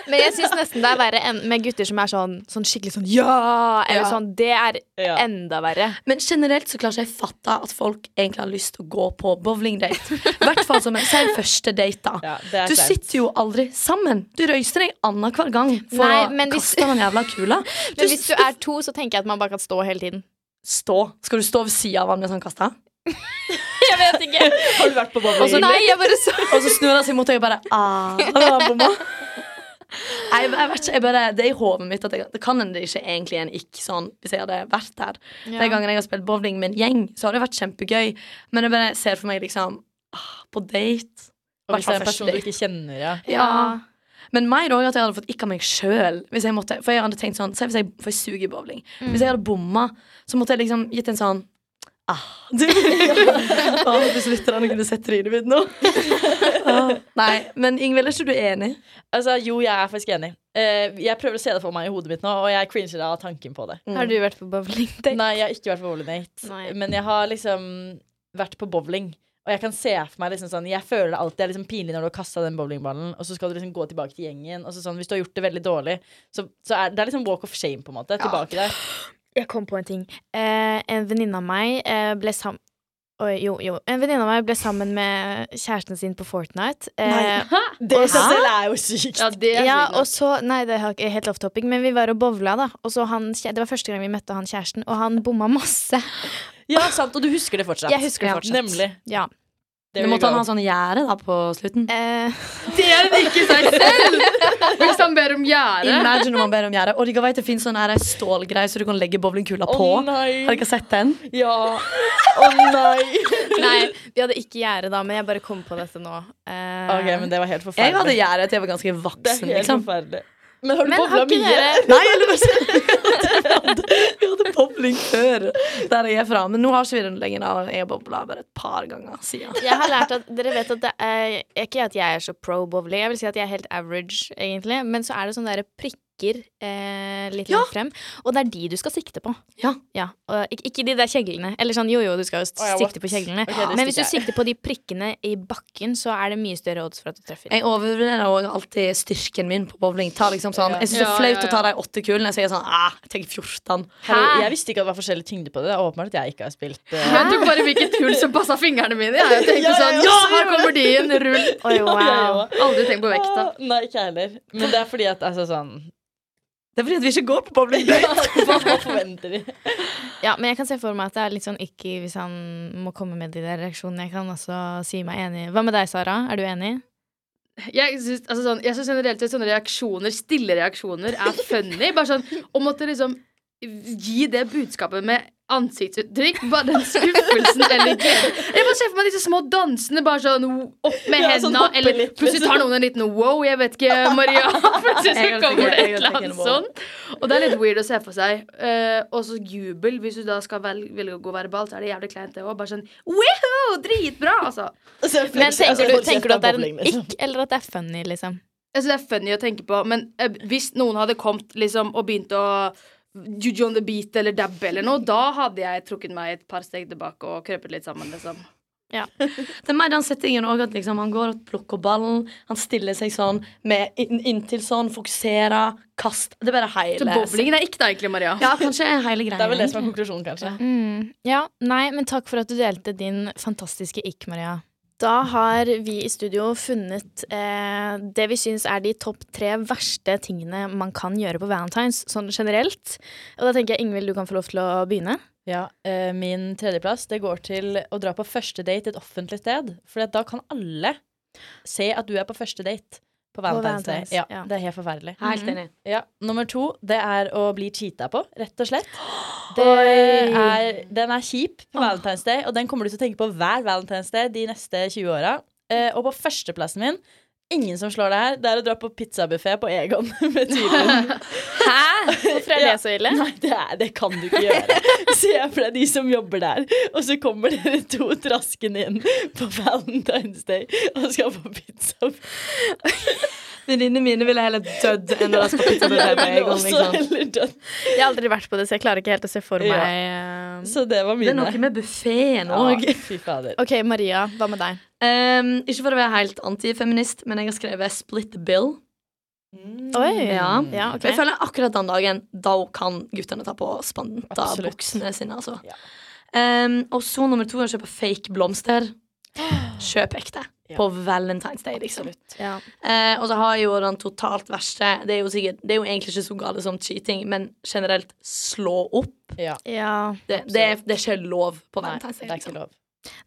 S2: Men jeg syns nesten det er verre enn med gutter som er sånn, sånn skikkelig sånn ja! Eller
S4: Ja.
S2: sånn. Det er
S3: Ja.
S2: enda verre.
S4: Men generelt så klarer ikke jeg fatte at folk egentlig har lyst til å gå på bowlingdate. I hvert fall som en si en første date, da.
S3: Ja, det er
S4: Du
S3: flaut.
S4: sitter jo aldri sammen. Du røyser deg annenhver gang for
S2: Nei,
S4: å
S2: men hvis-
S4: kaste den jævla kula.
S2: Men hvis du er to, så tenker jeg at man bare kan stå hele tiden.
S4: Stå. Skal du stå ved sida av han mens han kaster?
S2: [LAUGHS] Jeg vet ikke.
S3: Har du vært på bowling?
S4: så-
S2: Nei, jeg bare [LAUGHS] så
S4: Og så snur han seg mot deg og bare ah. Og da har han bomma. Nei, Jeg, jeg vet ikke, jeg bare, Det er i hodet mitt at jeg, det kan hende det ikke egentlig er en ikk sånn hvis jeg hadde vært der. Den gangen jeg har spilt bowling med en gjeng, så har det vært kjempegøy. Men jeg bare ser for meg liksom ah, på date.
S3: Og hvis det er en person du ikke kjenner, ja.
S4: Ja. Men mer òg at jeg hadde fått ikke av meg sjøl. Hvis jeg måtte, for jeg hadde tenkt sånn, se hvis jeg får suge i bowling.
S3: Mm.
S4: Hvis jeg hadde bomma, så måtte jeg liksom gitt en sånn
S3: [LAUGHS]
S4: ah, [LAUGHS] du. ah, hvis lytterne kunne sett trynet mitt
S3: [LAUGHS]
S4: nå. ah, nei, men Ingvild, er ikke du enig?
S3: Altså, jo, jeg er faktisk enig. Eh, jeg prøver å se det for meg i hodet mitt nå, og jeg cringer av tanken på det.
S2: Har du vært på bowling?
S3: Nei, jeg har ikke vært på bowlingdate,
S2: Nei.
S3: men jeg har liksom vært på bowling. Og jeg kan se for meg liksom sånn Jeg føler det alltid er liksom pinlig når du har kasta den bowlingballen, og så skal du liksom gå tilbake til gjengen. Og så sånn, hvis du har gjort det veldig dårlig, så, så er det er liksom walk of shame, på en måte. Tilbake der.
S2: Jeg kom på en ting. Eh, en venninne av meg eh, ble sammen Oi, jo, jo. En venninne av meg ble sammen med kjæresten sin på Fortnite. Eh, [LAUGHS]
S3: Det i seg selv er jo sykt.
S5: Ja, det er
S2: ja,
S5: sykt nok.
S2: og så Nei, det er ikke helt off-topping, men vi var og bowla, da. Og så han, kjæ- det var første gang vi møtte han kjæresten, og han bomma masse.
S3: Ja, sant, og du husker det fortsatt.
S2: Jeg husker det
S4: Ja.
S2: fortsatt.
S3: Nemlig.
S2: Ja.
S3: Det
S4: Men
S3: vil
S4: måtte
S3: jeg
S4: han ha
S3: gå.
S4: sånn gjerde da på slutten?
S2: Eh,
S5: Det er det ikke seg selv! Hvis han ber om gjerde.
S4: Imagine om han ber om gjerde. Og dere vet det fins sånn her stålgreie så du kan legge bowlingkula
S3: Å
S4: på. Har
S3: nei.
S4: dere sett den?
S3: Ja. Å nei.
S2: nei, vi hadde ikke gjerde da, men jeg bare kom på dette nå. Eh,
S3: OK, men det var helt
S4: Jeg hadde
S3: forferdelig.
S4: gjerde til jeg var ganske
S3: Det er
S4: voksen.
S3: helt
S4: liksom
S3: forferdelig. Men har du
S2: Men
S3: bowla
S2: har ikke
S3: mye?
S2: dere
S4: Nei, eller bare sånn Vi hadde bowling før Der jeg er fra, men nå har ikke vi den lenger da. Jeg har bobla bare et par ganger siden
S2: Jeg har lært at Dere vet at det er ikke at jeg er så pro bowling. Jeg vil si at jeg er helt average, egentlig. Men så er det sånne der prikker eh, litt
S4: Ja.
S2: langt frem. Og det er de du skal sikte på.
S4: Ja.
S2: og ikke, ikke de der kjeglene. Eller sånn jo jo, du skal jo
S3: Å, ja, what?
S2: sikte på kjeglene.
S3: Ok, det
S2: Men hvis du
S3: stikker jeg.
S2: sikter på de prikkene i bakken, så er det mye større odds for at du treffer.
S4: Jeg overvurderer også alltid styrken min på bowling Ta liksom sånn, Jeg synes det
S5: Ja,
S4: er flaut
S5: ja, ja.
S4: å ta de åtte kulene Så jeg er sånn, ah, jeg tenker 14
S3: Hallo, Jeg visste ikke at det var forskjellig tyngde på det. Det er åpenbart at jeg ikke har spilt eh,
S5: Jeg tok bare hvilket hull som passa fingrene mine. Jeg og tenkte
S3: Ja, jeg
S5: sånn,
S3: også
S5: ja, her
S3: gjorde
S5: kommer de inn, rull.
S2: Oi, [LAUGHS] wow.
S3: ja,
S5: Aldri tenkt på vekta.
S3: Ah, Nei, ikke jeg heller. Men det er fordi at altså sånn
S4: Det er fordi at vi ikke går på bowling
S3: [LAUGHS]
S4: date
S3: Hva forventer de?
S2: Ja, men jeg kan se for meg at det er litt sånn ikke hvis han må komme med de der reaksjonene. Jeg kan også si meg enig. Hva med deg, Sara? Er du enig?
S5: Jeg syns altså sånn, jeg synes generelt sett sånne reaksjoner, stille reaksjoner, er funny. Bare sånn å måtte liksom gi det budskapet med ansiktsuttrykk. Bare den
S3: [LAUGHS]
S5: skuffelsen eller gleden. Jeg bare ser for meg disse små dansene, bare sånn opp med
S3: Ja,
S5: hendene,
S3: sånn hoppe
S5: eller
S3: litt, liksom.
S5: plutselig tar noen en liten wow, jeg vet ikke,
S3: [LAUGHS]
S5: Maria. Plutselig så
S4: Jeg tenker-
S5: kommer det
S4: jeg
S5: et eller annet
S4: tenker wow.
S5: sånn. Og det er litt weird å se for seg. Eh, og så jubel, hvis du da skal vel, velge å gå verbalt, så er det jævlig kleint, det òg. Bare sånn woohoo, dritbra, altså.
S2: Men
S3: altså,
S2: tenker du, altså, tenker du at det er en
S3: liksom.
S2: ikk, eller at det er funny, liksom?
S5: Altså, Jeg synes det er funny å tenke på, men eh, hvis noen hadde kommet liksom, og begynt å Juju on the beat eller dab eller noe, da hadde jeg trukket meg et par steg tilbake og krøpet litt sammen, liksom.
S4: Det er mer den settingen også, at liksom, han går og plukker ballen. Han stiller seg sånn, med inn, inntil sånn, fokuserer, kast. Det er bare
S5: Så
S4: hele
S5: bowlingen er ikke deg, egentlig, Maria.
S4: Ja, kanskje hele greia.
S3: Det er vel det som er konklusjonen, kanskje.
S2: Mm, ja, nei, men takk for at du delte din fantastiske ikk, Maria. Da har vi i studio funnet eh, det vi syns er de topp tre verste tingene man kan gjøre på valentines, sånn generelt. Og da tenker jeg Ingvild, du kan få lov til å begynne.
S3: Ja, eh, Min tredjeplass det går til å dra på første date et offentlig sted. For da kan alle se at du er på første date på Valentine's Day.
S2: Valentine's,
S3: Ja,
S2: ja.
S3: Det er helt forferdelig.
S4: Helt enig.
S3: Ja, Nummer to det er å bli cheata på, rett og slett. Det
S2: Oi.
S3: er, den er kjip på Valentine's Day, og den kommer du til å tenke på hver Valentine's Day de neste 20 åra. Eh, og på førsteplassen min Ingen som slår det her. Det er å dra på pizzabuffé på Egon [LAUGHS] med typen.
S2: Hæ? Hvorfor er det
S3: Ja.
S2: så ille?
S3: Nei, det, er, det kan du ikke
S4: [LAUGHS]
S3: gjøre. Se for deg de som jobber der, og så kommer dere to traskende inn på Valentine's Day og skal på pizza.
S4: Venninnene mine ville heller dødd enn å lese på pizza
S3: Men
S4: med [LAUGHS] deg.
S3: også heller død.
S2: Jeg har aldri vært på det, så jeg klarer ikke helt å se for
S3: Ja.
S2: meg eh.
S3: Så det var
S4: Det er
S3: mine.
S4: noe med buffeen òg.
S3: Ja, fy fader.
S2: OK, Maria, hva med deg?
S4: Ehm, ikke for å være helt antifeminist, men jeg har skrevet 'split the bill'.
S2: Oi.
S4: Ja.
S2: Ja, ok.
S4: For Jeg føler akkurat den dagen Da kan guttene ta på spanta
S3: Absolutt.
S4: buksene sine altså.
S3: Ja.
S4: Ehm, Og så nummer to er å kjøpe fake
S3: [GASPS]
S4: blomster Kjøp ekte
S3: Ja.
S4: På Valentine's Day liksom.
S2: Ja.
S4: Eh, Og så har jeg jo den totalt verste det er, jo sikkert, det er jo egentlig ikke så gale som cheating Men generelt slå opp
S3: Ja.
S2: ja.
S4: Det, det, er, det er ikke lov på
S3: Nei,
S4: Valentine's
S3: det
S4: Day
S3: er
S4: liksom.
S3: ikke lov.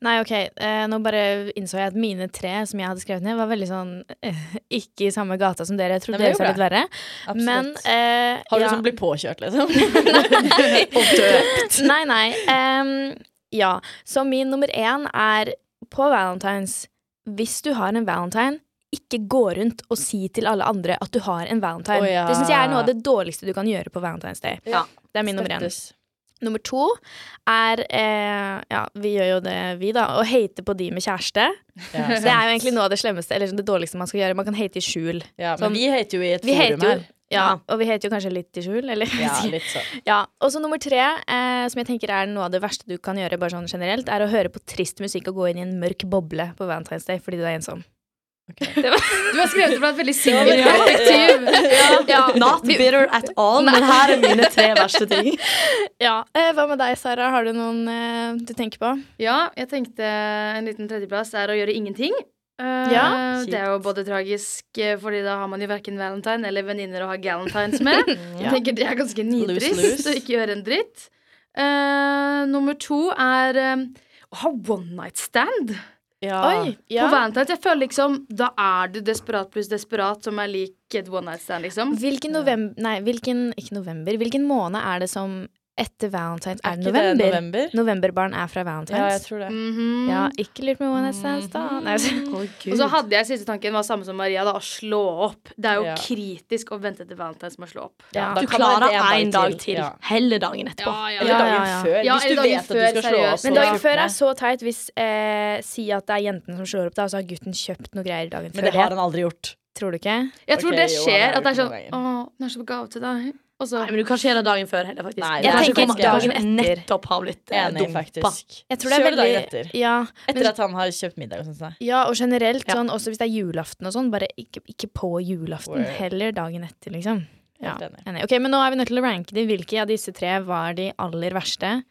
S2: Nei, ok. Eh, nå bare innså jeg at mine tre som jeg hadde skrevet ned, var veldig sånn eh, Ikke i samme gata som dere. Jeg
S3: Nei,
S2: trodde
S3: men det
S2: deres var litt verre.
S3: Absolutt.
S2: Men eh,
S3: Har du
S2: ja.
S3: sånn blir påkjørt,
S2: [LAUGHS]
S3: liksom? [LAUGHS] Og døpt.
S2: Nei, nei. Em, ja. Så min nummer én er på valentines Hvis du har en valentine, ikke gå rundt og si til alle andre at du har en valentine.
S3: Å, ja.
S2: Det syns jeg er noe av det dårligste du kan gjøre på Valentine's Day.
S4: Ja.
S2: Det er min nummer én.
S3: Støttes.
S2: Nummer to er eh, Ja, vi gjør jo det, vi, da. Å hate på de med kjæreste.
S3: Ja, sånn.
S2: Det er jo egentlig noe av det slemmeste Eller sånn det dårligste man skal gjøre. Man kan hate i skjul.
S3: ja,
S2: Sånn-
S3: men vi heter jo i et
S2: Vi hater
S3: forum
S2: jo
S3: her.
S2: ja, Og vi hater jo kanskje litt i skjul. Eller,
S3: Ja, litt sånn.
S2: [LAUGHS] ja. Og så nummer tre, eh, som jeg tenker er noe av det verste du kan gjøre, bare sånn generelt, er å høre på trist musikk og gå inn i en mørk boble på Valentine's Day fordi du er ensom.
S5: Du har skrevet det fra et veldig
S3: Ja,
S5: singelt
S3: ja, ja.
S5: perspektiv. [LAUGHS]
S2: Ja,
S4: Not bitter at all Men her er mine tre verste ting
S2: ja. Eh, hva med deg, Sara? Har du noen eh, du tenker på?
S5: Ja, jeg tenkte en liten tredjeplass er å gjøre ingenting. Eh,
S2: Ja,
S5: det er jo både tragisk, eh, Fordi da har man jo verken valentine eller venninner å ha galentines
S2: [LAUGHS]
S5: med. Jeg tenker Det er ganske nitrist
S3: lose.
S5: å ikke gjøre en dritt. Eh, nummer to er eh, å ha one night stand
S3: Ja.
S2: Oi!
S5: på
S2: Ja.
S5: valentines. Jeg føler liksom, Da er du desperat pluss desperat som er lik et one night stand, liksom.
S2: Hvilken november Nei, hvilken, ikke november. Hvilken måned er det som etter Valentine's
S3: Er
S2: er,
S3: ikke det
S2: november? Mm.
S3: november?
S2: Novemberbarn er fra
S3: Ja, jeg
S2: Valentine's.
S3: tror det.
S5: Mhm.
S2: Ja, ikke lurt med One Night Stands, da. Nei, altså.
S5: Og så hadde jeg siste tanken var samme som Maria, da, å slå opp. Det er jo
S3: Ja.
S5: kritisk å vente til valentines med å slå opp.
S2: Ja.
S3: Da
S4: Du
S3: kan man
S4: klarer
S3: vente en
S4: en
S3: dag
S4: dag
S3: til.
S4: til
S3: Ja.
S4: Hele dagen etterpå
S2: Ja,
S3: Eller dagen
S2: ja, ja.
S3: før,
S5: Ja,
S3: hvis du
S5: eller
S3: vet
S5: dagen
S3: at du
S5: før,
S3: skal slå opp.
S5: seriøst.
S2: Men
S3: så-
S2: dagen før er så teit hvis eh, si at det er jenten som slår opp, da, og så har gutten kjøpt noe greier dagen før.
S3: Men det har han aldri gjort.
S2: Tror du ikke?
S5: Jeg tror
S3: Ok,
S5: det
S3: jo,
S5: skjer.
S3: han
S5: at det
S3: er
S5: er
S3: jo
S5: sånn
S3: på
S5: Å, den er så på gave til deg. Og så
S4: Nei, men du kan ikke gjøre det dagen før heller, faktisk.
S3: Nei,
S4: jeg
S2: det er
S4: tenker
S2: faktisk
S4: at dagen
S2: ikke.
S4: nettopp har blitt eh,
S3: Enig,
S4: dumpa.
S3: faktisk.
S2: Jeg tror det er
S3: Kjør
S2: veldig
S3: dagen etter.
S2: Ja,
S3: Etter
S2: men-
S3: at han har kjøpt middag og sånt. sånn.
S2: ja og generelt
S4: Ja.
S2: sånn, også hvis det er julaften og sånn, bare ikke, ikke på julaften.
S3: Word.
S2: Heller dagen etter, liksom. Ja,
S3: Helt enig.
S2: enig. Ok, Men nå er vi nødt til å ranke de. Hvilke av disse tre var de aller verste?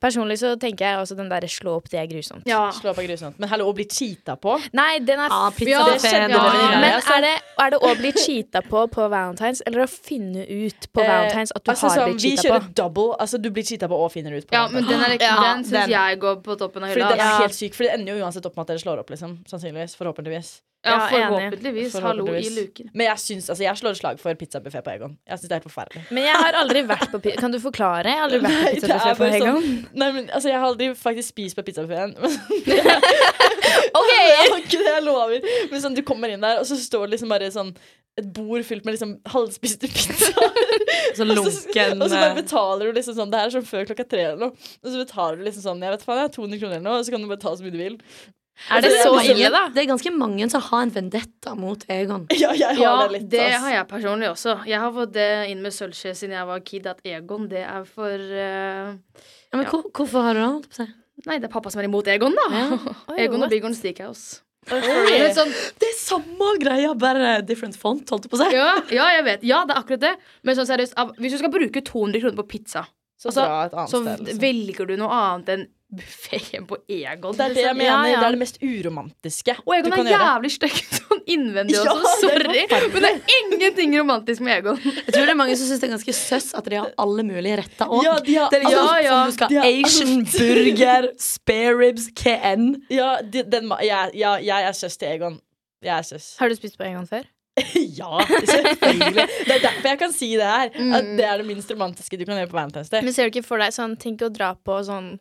S2: Personlig så tenker jeg også den derre slå opp, det er grusomt.
S5: Ja.
S3: Slå på grusomt. Men hallo, å bli cheata på?
S2: Nei, den er
S4: Ja,
S5: Ja,
S4: pizzabuffé.
S5: det skjedde
S4: det var mye
S5: det. Ja,
S4: greier.
S2: Men
S4: altså.
S2: er det, er det å bli cheata på på valentines, eller å finne ut på
S3: Eh,
S2: valentines at du
S3: altså,
S2: har
S3: sånn,
S2: blitt
S3: vi
S2: cheata
S3: kjører
S2: på?
S3: double. Altså, du blir cheata på og finner ut på.
S5: Ja,
S3: en
S5: men
S3: måte.
S5: den, er,
S4: Ja,
S5: den syns
S4: den.
S5: jeg går på toppen av
S3: fordi
S5: hylla.
S3: den er
S5: Ja.
S3: helt syk, for det ender jo uansett opp med at dere slår opp, liksom. Sannsynligvis. Forhåpentligvis.
S5: Ja,
S2: Ja, enig.
S5: forhåpentligvis. Hallo i
S3: Forhåpentligvis.
S5: luken.
S3: Men jeg syns altså, jeg slår et slag for pizzabuffé på Egon. Jeg syns det er helt forferdelig.
S2: Men jeg har aldri vært på pi- Kan du forklare? Jeg har aldri vært på
S3: Nei, det er
S2: pizzabuffé på
S3: bare
S2: Hegon.
S3: Nei, men altså, jeg har aldri faktisk spist på [LAUGHS] pizzabuffeen. men
S2: Ok!
S3: Jeg har ikke det, jeg lover. Men sånn, du kommer inn der, og så står det liksom bare sånn et bord fylt med liksom halvspiste pizzaer.
S4: Så
S3: Og så-
S4: lunken
S3: og så bare
S4: eh,
S3: betaler du liksom sånn Det her er sånn før klokka tre eller noe. Og så betaler du liksom sånn Jeg vet faen, jeg har 200 kroner eller noe, og så kan du bare ta så mye du vil. [LAUGHS]
S2: Er det så
S4: Altså, er liksom-
S2: ille, da?
S4: Det er ganske mange som har en vendetta mot Egon.
S3: Ja, jeg har
S5: Ja,
S3: det litt.
S5: det
S3: ass.
S5: har jeg personlig også. Jeg har fått det inn med sølvskje siden jeg var kid, at Egon, det er for eh,
S4: Ja, men
S5: Ja.
S4: hvor- Hvorfor har du det? holdt på å si?
S5: Nei, det er pappa som er imot Egon, da.
S4: Ja.
S5: [LAUGHS] Egon og Bygården Steakhouse.
S2: Oi.
S5: Men sånn,
S4: Det er samme greia, bare different font, holdt jeg på å si.
S5: ja, ja, jeg vet. Ja, det er akkurat det. Men sånn seriøst, av- hvis du skal bruke 200 kroner på pizza,
S3: Så
S5: altså,
S3: dra et annet
S5: så
S3: sted. Liksom.
S5: velger du noe annet enn buffeen på Egon.
S3: Det er det jeg mener.
S5: Ja, ja.
S3: Det er det mest uromantiske
S5: Og Egon
S3: du kan
S5: er
S3: gjøre.
S5: jævlig stygg [LAUGHS] sånn innvendig
S3: Ja,
S5: også.
S3: det er
S5: Sorry. Men det er ingenting romantisk
S3: [LAUGHS]
S5: med Egon.
S4: Jeg tror det er mange som syns det er ganske søss at de har alle mulige retter òg.
S3: Ja, de har altså,
S4: det er liksom
S5: Ja, ja.
S4: om du skal
S3: De
S4: ha
S3: har [LAUGHS]
S4: Asian
S3: alt.
S4: burger, spare ribs, hva enn.
S3: [LAUGHS] Ja, de, den, ma- ja, ja, jeg er søs til Egon. Jeg er søs.
S2: Har du spist på Egon før?
S3: [LAUGHS] ja, selvfølgelig. Det er derfor jeg kan si det her. At det er det minst romantiske du kan gjøre på Valentine's Day.
S2: Men ser du ikke for deg sånn Tenk å dra på sånn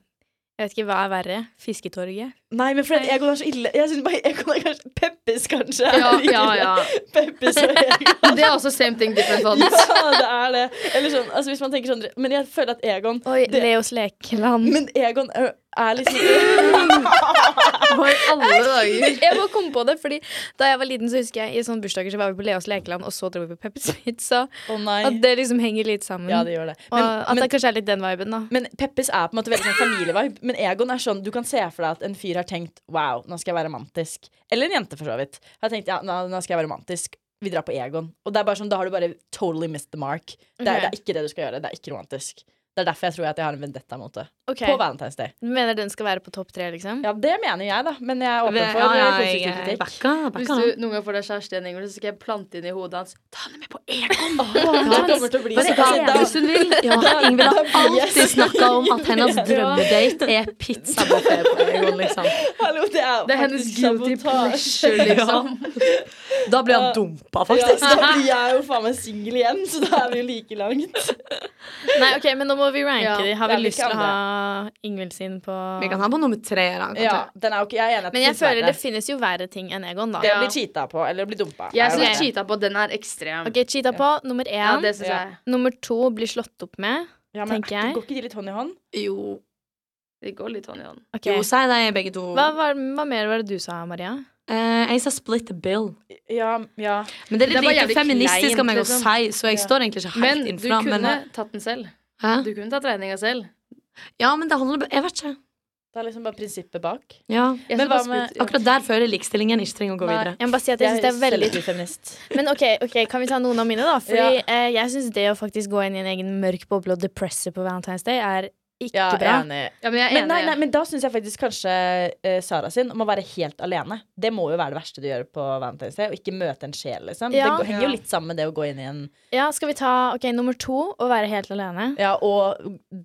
S2: Jeg vet ikke hva er verre. Fisketorget.
S3: Nei, men fordi at Egon er så ille. Jeg synes bare Egon er kanskje Peppes, kanskje. er [LAUGHS]
S5: Ja,
S3: like
S5: ja,
S3: ille.
S5: ja.
S3: Peppes og [LAUGHS] Egon.
S5: Det er også same thing different
S3: Ja,
S5: ones.
S3: det er det. Eller sånn, altså hvis man tenker sånn Men jeg føler at Egon
S2: Oi,
S3: det,
S2: Leos lekeland.
S3: Men Egon er, er [LAUGHS] liksom
S5: For alle dager.
S2: [LAUGHS] Jeg må komme på det, fordi Da jeg var liten, så husker jeg i sånne bursdager så var vi på Leos lekeland, og så dro vi på Peppers Pizza.
S3: Å nei.
S2: At det liksom henger litt sammen.
S3: Ja, det gjør det.
S2: og at
S3: men,
S2: det kanskje er litt den viben, da.
S3: Men Peppes er på en måte veldig sånn familievibe. Men Egon er sånn, du kan se for deg at en fyr har tenkt Wow, nå skal jeg være romantisk. Eller en jente, for så vidt. Har tenkt, ja, nå, nå skal jeg være romantisk. Vi drar på Egon. Og det er bare sånn, da har du bare totally missed the mark. Det er, det er ikke det du skal gjøre. Det er ikke romantisk. Det er derfor jeg tror at jeg har en vendetta mot det.
S2: Ok.
S3: På Valentine's Day.
S2: Du mener den skal være på topp tre, liksom?
S3: Ja, det mener jeg, da. Men jeg er åpen for
S4: Ja,
S3: eh,
S4: ja,
S3: konstruktiv
S4: jeg
S3: kritikk.
S4: backer- backer
S5: Hvis
S4: den.
S5: du noen gang får deg kjæreste igjen, Ingrid, så skal jeg plante inn i hodet hans Ta henne med på Egon!
S3: Det kommer til å bli
S5: Hva
S3: så
S5: er
S3: altså,
S5: det
S3: da-
S5: eneste hun vil?
S4: Ja, Ingvild har
S3: Da blir jeg sånn.
S4: alltid
S3: så
S4: snakka om at
S3: [LAUGHS]
S4: hennes
S3: irritert.
S4: drømmedate er pizzabuffé på Egon, liksom.
S3: Hallo, det er,
S5: Det er hennes
S3: faktisk
S5: guilty
S3: sabotasje.
S5: pleasure, liksom.
S4: Da blir han dumpa,
S3: Ja, [LAUGHS]
S4: faktisk.
S3: så da blir jeg jo faen meg singel igjen, så da er vi jo like langt.
S2: Nei, ok, men nå må vi ranke
S5: Ja,
S2: de. Har
S3: det
S2: vi
S3: er
S2: lyst
S3: like
S2: til å ha Ingvild sin på
S4: Vi kan ha på nummer tre. Da, kanskje.
S3: Ja, den er jo ikke, jeg er enig at
S2: Men jeg
S3: finnes
S2: føler
S3: verre.
S2: det finnes jo verre ting enn Egon, da.
S3: Det
S5: Ja.
S3: å bli cheata på eller bli dumpa.
S5: Jeg
S3: er jo
S5: syns
S3: verre.
S5: cheata på den er ekstrem.
S2: Ok, cheata på nummer én.
S5: Ja, det syns
S3: Ja.
S5: jeg.
S2: Nummer to blir slått opp med.
S3: ja, men,
S2: tenker jeg.
S3: Går ikke de litt hånd i hånd?
S4: Jo,
S5: Det går litt hånd i hånd.
S2: Ok.
S4: jo, si det, begge to.
S2: Hva, var- hva mer var det du sa, Maria?
S4: Eh, jeg sa split the bill.
S3: Ja, ja.
S4: Men det er
S5: Det
S4: litt
S5: var
S4: lite
S5: jævlig
S4: feministisk av
S5: kleint,
S4: meg å
S5: liksom.
S4: si, så jeg
S3: Ja.
S4: står egentlig ikke
S5: Men
S4: helt
S5: du
S4: innfra. Men,
S3: eh,
S4: eh,
S5: kunne tatt den selv.
S4: Hæ?
S5: Du kunne tatt regninga selv.
S4: ja, men det handler bare Jeg vet ikke.
S3: Det er liksom bare prinsippet bak.
S4: Ja.
S5: Jeg
S3: Men
S5: skal
S3: hva
S5: bare
S3: med-
S5: spytte- ja.
S4: Akkurat der føler jeg likestillingen ikke trenger å gå
S3: Nei.
S4: videre.
S2: Jeg må bare si at jeg synes det er veldig
S3: selektiv feminist.
S2: Men ok, ok, kan vi ta noen av mine, da? Fordi eh, jeg syns det å faktisk gå inn i en egen mørk boble og depresse på Valentine's Day er ikke
S3: Ja,
S2: bra.
S3: enig.
S5: men jeg er
S3: Men,
S5: enig.
S3: nei, nei, men da syns jeg faktisk kanskje eh, Sara sin om å være helt alene. Det må jo være det verste du gjør på Valentine's Day. Å ikke møte en sjel, liksom.
S2: Ja.
S3: Det går- henger
S5: Ja.
S3: jo litt sammen med det å gå inn i en
S2: Ja, skal vi ta ok, nummer to å være helt alene?
S3: Ja, og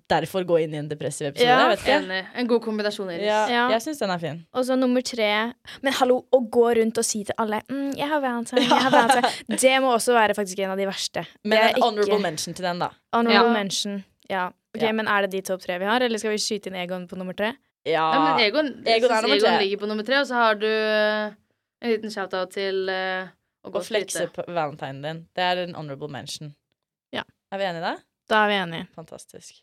S3: derfor gå inn i en depressiv episode.
S2: Ja.
S3: jeg vet ikke.
S5: Enig. En god kombinasjon, Iris.
S3: Ja,
S2: Ja.
S3: jeg syns den er fin.
S2: Og så nummer tre Men hallo, å gå rundt og si til alle mm, 'Jeg har Valentine, jeg har Valentine' Det må også være faktisk en av de verste.
S3: Men
S2: Det er
S3: en honorable mention til den, da.
S2: honorable
S4: Ja.
S2: mention. Ja. Ok,
S3: Ja.
S2: Men er det de topp tre vi har, eller skal vi skyte inn Egon på nummer tre?
S3: Ja.
S5: Ja, men Egon, jeg
S3: Egon er
S5: synes
S3: nummer
S5: Egon
S3: tre.
S5: ligger på nummer tre, og så har du eh, en liten shout-out til eh, å gå
S3: Å
S5: og
S3: flekse
S5: skryte.
S3: på valentinen din. Det er en honorable mention.
S2: Ja.
S3: Er vi enige i det?
S2: Da er vi enige.
S3: Fantastisk.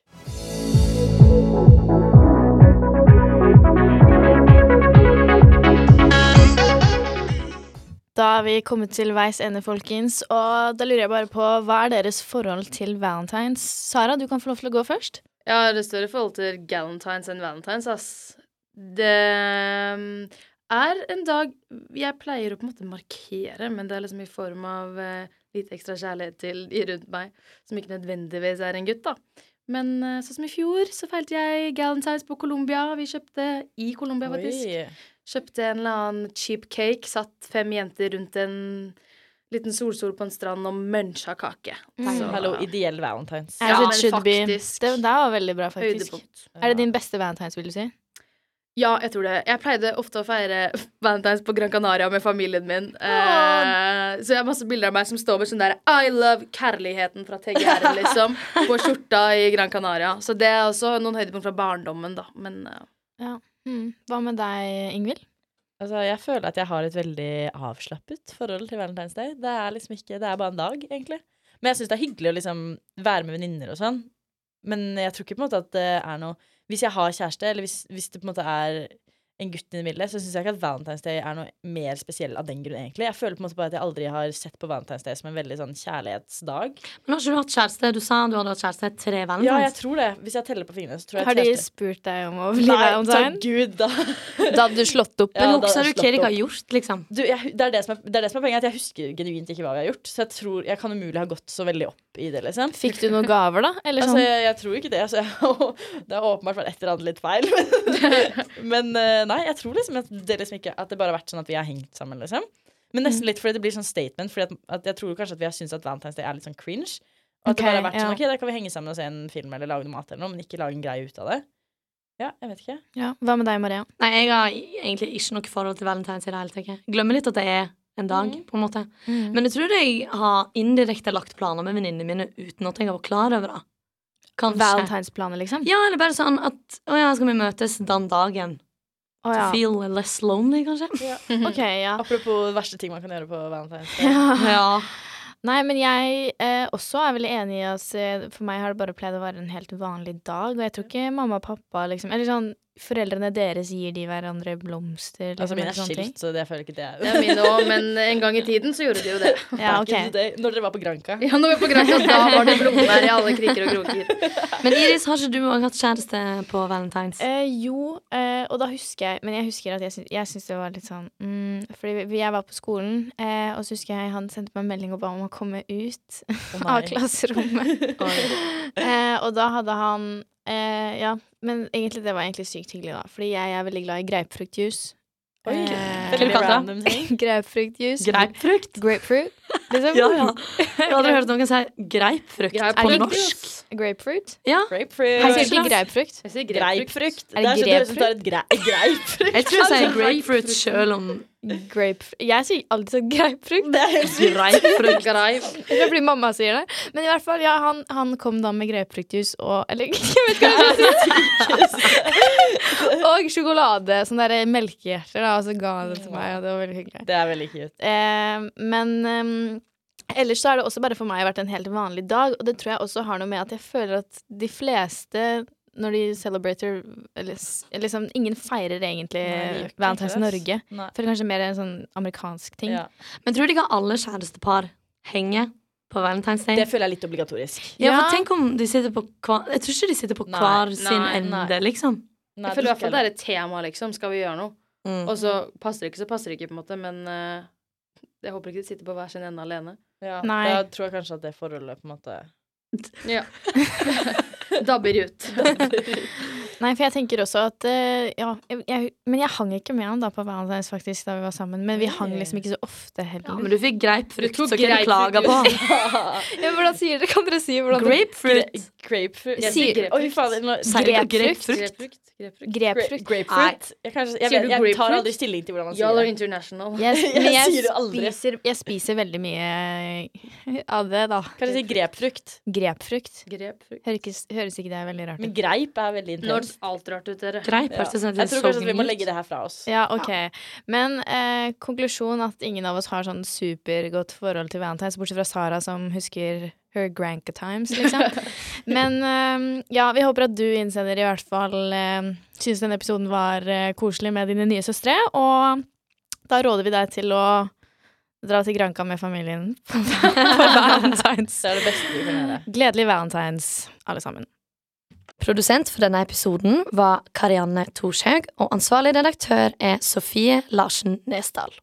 S2: Da er vi kommet til veis ende, folkens. Og da lurer jeg bare på, hva er deres forhold til valentines? Sara, du kan få lov til å gå først.
S5: Jeg har et større forhold til galentines enn valentines, ass. Det mm, er en dag jeg pleier å på en måte markere, men det er liksom i form av eh, litt ekstra kjærlighet til de rundt meg, som ikke nødvendigvis er en gutt, da. Men eh, sånn som i fjor, så feilte jeg galentines på Colombia. Vi kjøpte i Colombia, faktisk.
S3: Oi.
S5: Kjøpte en eller annen cheap cake, satt fem jenter rundt en liten solstol på en strand og muncha kake.
S2: Mm.
S5: Så-
S3: Hallo, ideell valentines.
S5: Ja,
S2: As
S5: men
S2: it should be.
S5: faktisk.
S2: Det, det var veldig bra, faktisk.
S5: Høydepunkt.
S2: Er det din beste valentines, vil du si?
S5: Ja, jeg tror det. Jeg pleide ofte å feire valentines på Gran Canaria med familien min. Eh, så jeg har masse bilder av meg som står med sånn der I love kærligheten fra
S2: [LAUGHS]
S5: TGR, liksom. På skjorta i Gran Canaria. Så det er også noen høydepunkt fra barndommen, da. Men eh,
S2: Hva med deg, Ingvild?
S3: Altså, jeg føler at jeg har et veldig avslappet forhold til Valentine's Day. Det er liksom ikke Det er bare en dag, egentlig. Men jeg syns det er hyggelig å liksom være med venninner og sånn. Men jeg tror ikke på en måte at det er noe Hvis jeg har kjæreste, eller hvis, hvis det på en måte er enn gutten i det middelet, så syns jeg ikke at Valentine's Day er noe mer spesiell av den grunn, egentlig. Jeg føler på en måte bare at jeg aldri har sett på Valentine's Day som en veldig sånn kjærlighetsdag.
S4: Men har ikke du hatt kjæreste? Du sa du hadde hatt kjæreste tre
S3: Ja, jeg
S4: valentines.
S3: tror det. Hvis jeg teller på fingrene, så tror jeg
S2: Har de
S3: jeg
S2: spurt deg om å bli
S3: Nei, takk
S2: valentine?
S3: gud, da.
S2: Da hadde du slått opp.
S3: Ja,
S4: Men
S3: da hadde jeg
S4: husker du hva
S3: slått
S4: dere
S3: opp.
S4: har gjort, liksom?
S3: Du, jeg, det, er det, som er, det er det som er poenget, at jeg husker genuint ikke hva vi har gjort. Så jeg tror jeg kan umulig ha gått så veldig opp i det, liksom.
S2: Fikk du noen gaver, da? Eller
S3: Altså,
S2: sånn?
S3: jeg, jeg tror ikke det. Så jeg, det har åpenbart vært et eller annet litt feil.
S2: [LAUGHS]
S3: Men, men eh, nei, jeg tror liksom at det, liksom ikke, at det bare har vært sånn at vi har hengt sammen, liksom. Men
S2: Mm.
S3: nesten litt fordi det blir sånn statement. Fordi at, at jeg tror kanskje at vi har syntes at Valentine's Day er litt sånn cringe. Og
S2: Ok,
S3: at det bare har vært
S2: ja.
S3: sånn, ok, da kan vi henge sammen og se en film eller lage noe mat eller noe, men ikke lage en greie ut av det. Ja, jeg vet ikke.
S2: Ja. Hva med deg, Maria?
S4: Nei, jeg har e-, egentlig ikke noe forhold til valentines i det hele tatt. jeg. Glemmer litt at det er en dag, på en måte.
S2: Mm.
S4: Men jeg tror jeg har indirekte lagt planer med venninnene mine uten at jeg har vært klar over det. Kanskje.
S2: Valentinesplaner, liksom?
S4: Ja, eller bare sånn at Å ja, skal vi møtes den dagen?
S2: Å, ja.
S4: Feel less lonely, kanskje? [LAUGHS]
S2: Ok, ja.
S3: Apropos verste ting man kan gjøre på Valentine's
S2: Ah.
S3: Day.
S2: ja.
S4: Ja.
S2: Nei, men jeg eh, også er veldig enig i oss. eh, For meg har det bare pleid å være en helt vanlig dag. Og jeg tror ikke mamma og pappa liksom Eller sånn, foreldrene deres gir de hverandre blomster. Liksom,
S3: Altså, mine
S2: eller
S3: er
S2: sånne ting.
S3: skilt, så det føler ikke det.
S5: Det er mine òg, men en gang i tiden så gjorde de jo
S2: [LAUGHS]
S5: det.
S3: [LAUGHS]
S2: Ja,
S3: Back in
S2: ok.
S3: the day, Når dere var på Granka.
S5: Ja, når vi var på Granca, da var det blomster i alle kriker og kroker.
S4: Men Iris, har ikke du òg hatt kjæreste på valentines?
S2: Eh, jo, eh, og da husker jeg Men jeg husker at jeg, syn- jeg syns det var litt sånn mm, Fordi vi- vi- jeg var på skolen, eh, og så husker jeg han sendte meg en melding og ba om å komme ut
S3: Å, nei.
S2: [LAUGHS] av klasserommet. [LAUGHS] eh, og da hadde han eh, Ja, men egentlig det var egentlig sykt hyggelig, da. Fordi jeg er veldig glad i grapefruktjuice.
S3: Oi,
S2: Eh,
S3: veldig
S4: Hva kalte han?
S3: random ting.
S2: [LAUGHS] grapefruktjuice. [LAUGHS]
S4: Greipfrukt?
S2: Grapefruit,
S3: [LAUGHS]
S2: liksom.
S4: Ja, [LAUGHS] ja. Jeg har aldri hørt noen si greipfrukt
S5: Greip-
S4: på
S2: Er det-
S4: norsk.
S2: Grapefruit.
S4: Ja.
S2: Her
S3: Grapefruit.
S2: sier ikke greipfrukt.
S5: Jeg sier grapefrukt.
S3: Greipfrukt.
S2: Er
S3: Det
S2: det
S3: er så- det høres ut som det er et [LAUGHS] grei- greipfrukt.
S4: Jeg tror jeg sier grapefruit sjøl om
S2: Grapefruit. Jeg sier alltid sånn greipfrukt.
S3: Det er helt sykt.
S4: greipfrukt.
S5: Greip.
S2: [LAUGHS] Det er fordi mamma sier det. Men i hvert fall, ja, han, han kom da med grapefruktjuice og Eller [LAUGHS] jeg vet ikke hva det
S3: [LAUGHS]
S2: heter. Og sjokolade. Sånne der melkehjerter. Da, og så ga han det til meg, og det var veldig hyggelig.
S3: Det er veldig cute.
S2: Eh, men eh, ellers så har det også bare for meg vært en helt vanlig dag. Og det tror jeg også har noe med at jeg føler at de fleste når de celebrater eller, s- liksom, Ingen feirer egentlig
S3: Nei, de gjør ikke
S2: Valentine's
S3: det,
S2: i
S3: ass.
S2: Norge.
S3: Nei.
S2: Jeg føler kanskje mer en sånn amerikansk ting.
S3: Ja.
S4: Men tror du ikke alle kjærestepar henger på Valentine's Day?
S3: Det føler jeg er litt obligatorisk.
S4: Ja,
S2: Ja.
S4: for tenk om de sitter på hver Jeg tror ikke de sitter på
S3: Nei,
S4: hver sin
S5: nei,
S4: ende,
S3: nei.
S4: liksom.
S3: Nei,
S5: Jeg føler i hvert fall det
S3: skal-
S5: er et tema, liksom. Skal vi gjøre noe?
S4: Mm.
S5: Og så passer det ikke, så passer det ikke, på en måte. Men eh, jeg håper ikke de sitter på hver sin ende alene.
S3: ja,
S2: Nei.
S3: Da tror jeg kanskje at det forholdet på en måte
S5: Ja. Dabber ut.
S2: Nei, for jeg tenker også at eh, Ja, jeg, jeg, men jeg hang ikke med han da på Valentine's faktisk da vi var sammen. Men vi hang
S3: Oi.
S2: liksom ikke så ofte
S4: Ja,
S2: heller.
S4: men du fikk
S5: Du
S4: greipfrukt,
S5: tok
S4: så hva du klager på?
S2: Ja, men hvordan sier dere? Kan dere si hvordan
S4: Grapefruit?
S3: Grapefruit.
S2: Jeg
S5: sier
S3: Oi, fader, nå-
S4: Sier dere grapefruit?
S5: Grapefrukt. grapefrukt.
S3: Gra- [LAUGHS]
S2: Grapefrukt.
S3: Grapefruit? Jeg, kanskje, jeg, vet-
S5: Sier
S3: jeg
S5: du
S3: tar
S5: grapefruit?
S3: aldri stilling til hvordan man
S5: Y'all are
S3: sier det.
S5: international.
S2: Jeg,
S3: Jeg
S2: men jeg,
S3: sier det aldri.
S2: spiser, jeg spiser veldig mye av det, da.
S3: Kanskje si grepfrukt.
S2: Grapefrukt.
S5: Grapefrukt.
S2: Høres, høres ikke det veldig rart
S3: Men
S2: ut?
S3: greip er veldig
S5: Nå hørtes
S3: intenst.
S5: alt rart ut, dere.
S4: Greip
S3: Ja.
S4: hørtes
S3: Jeg tror kanskje at vi må legge det her fra oss.
S2: Ja, ok. Men eh, konklusjon at ingen av oss har sånn supergodt forhold til Valentine's, bortsett fra Sara som husker her Granca Times,
S3: [LAUGHS]
S2: liksom. Men eh, ja, vi håper at du innsender i hvert fall eh, syns denne episoden var eh, koselig med dine nye søstre, og da råder vi deg til å dra til Granca med familien på [LAUGHS]
S3: [LAUGHS]
S2: Valentine's.
S3: Så er det beste vi kan gjøre.
S2: Gledelig Valentine's, alle sammen.
S4: Produsent for denne episoden var Karianne Thorshaug, og ansvarlig redaktør er Sofie Larsen Nesdal.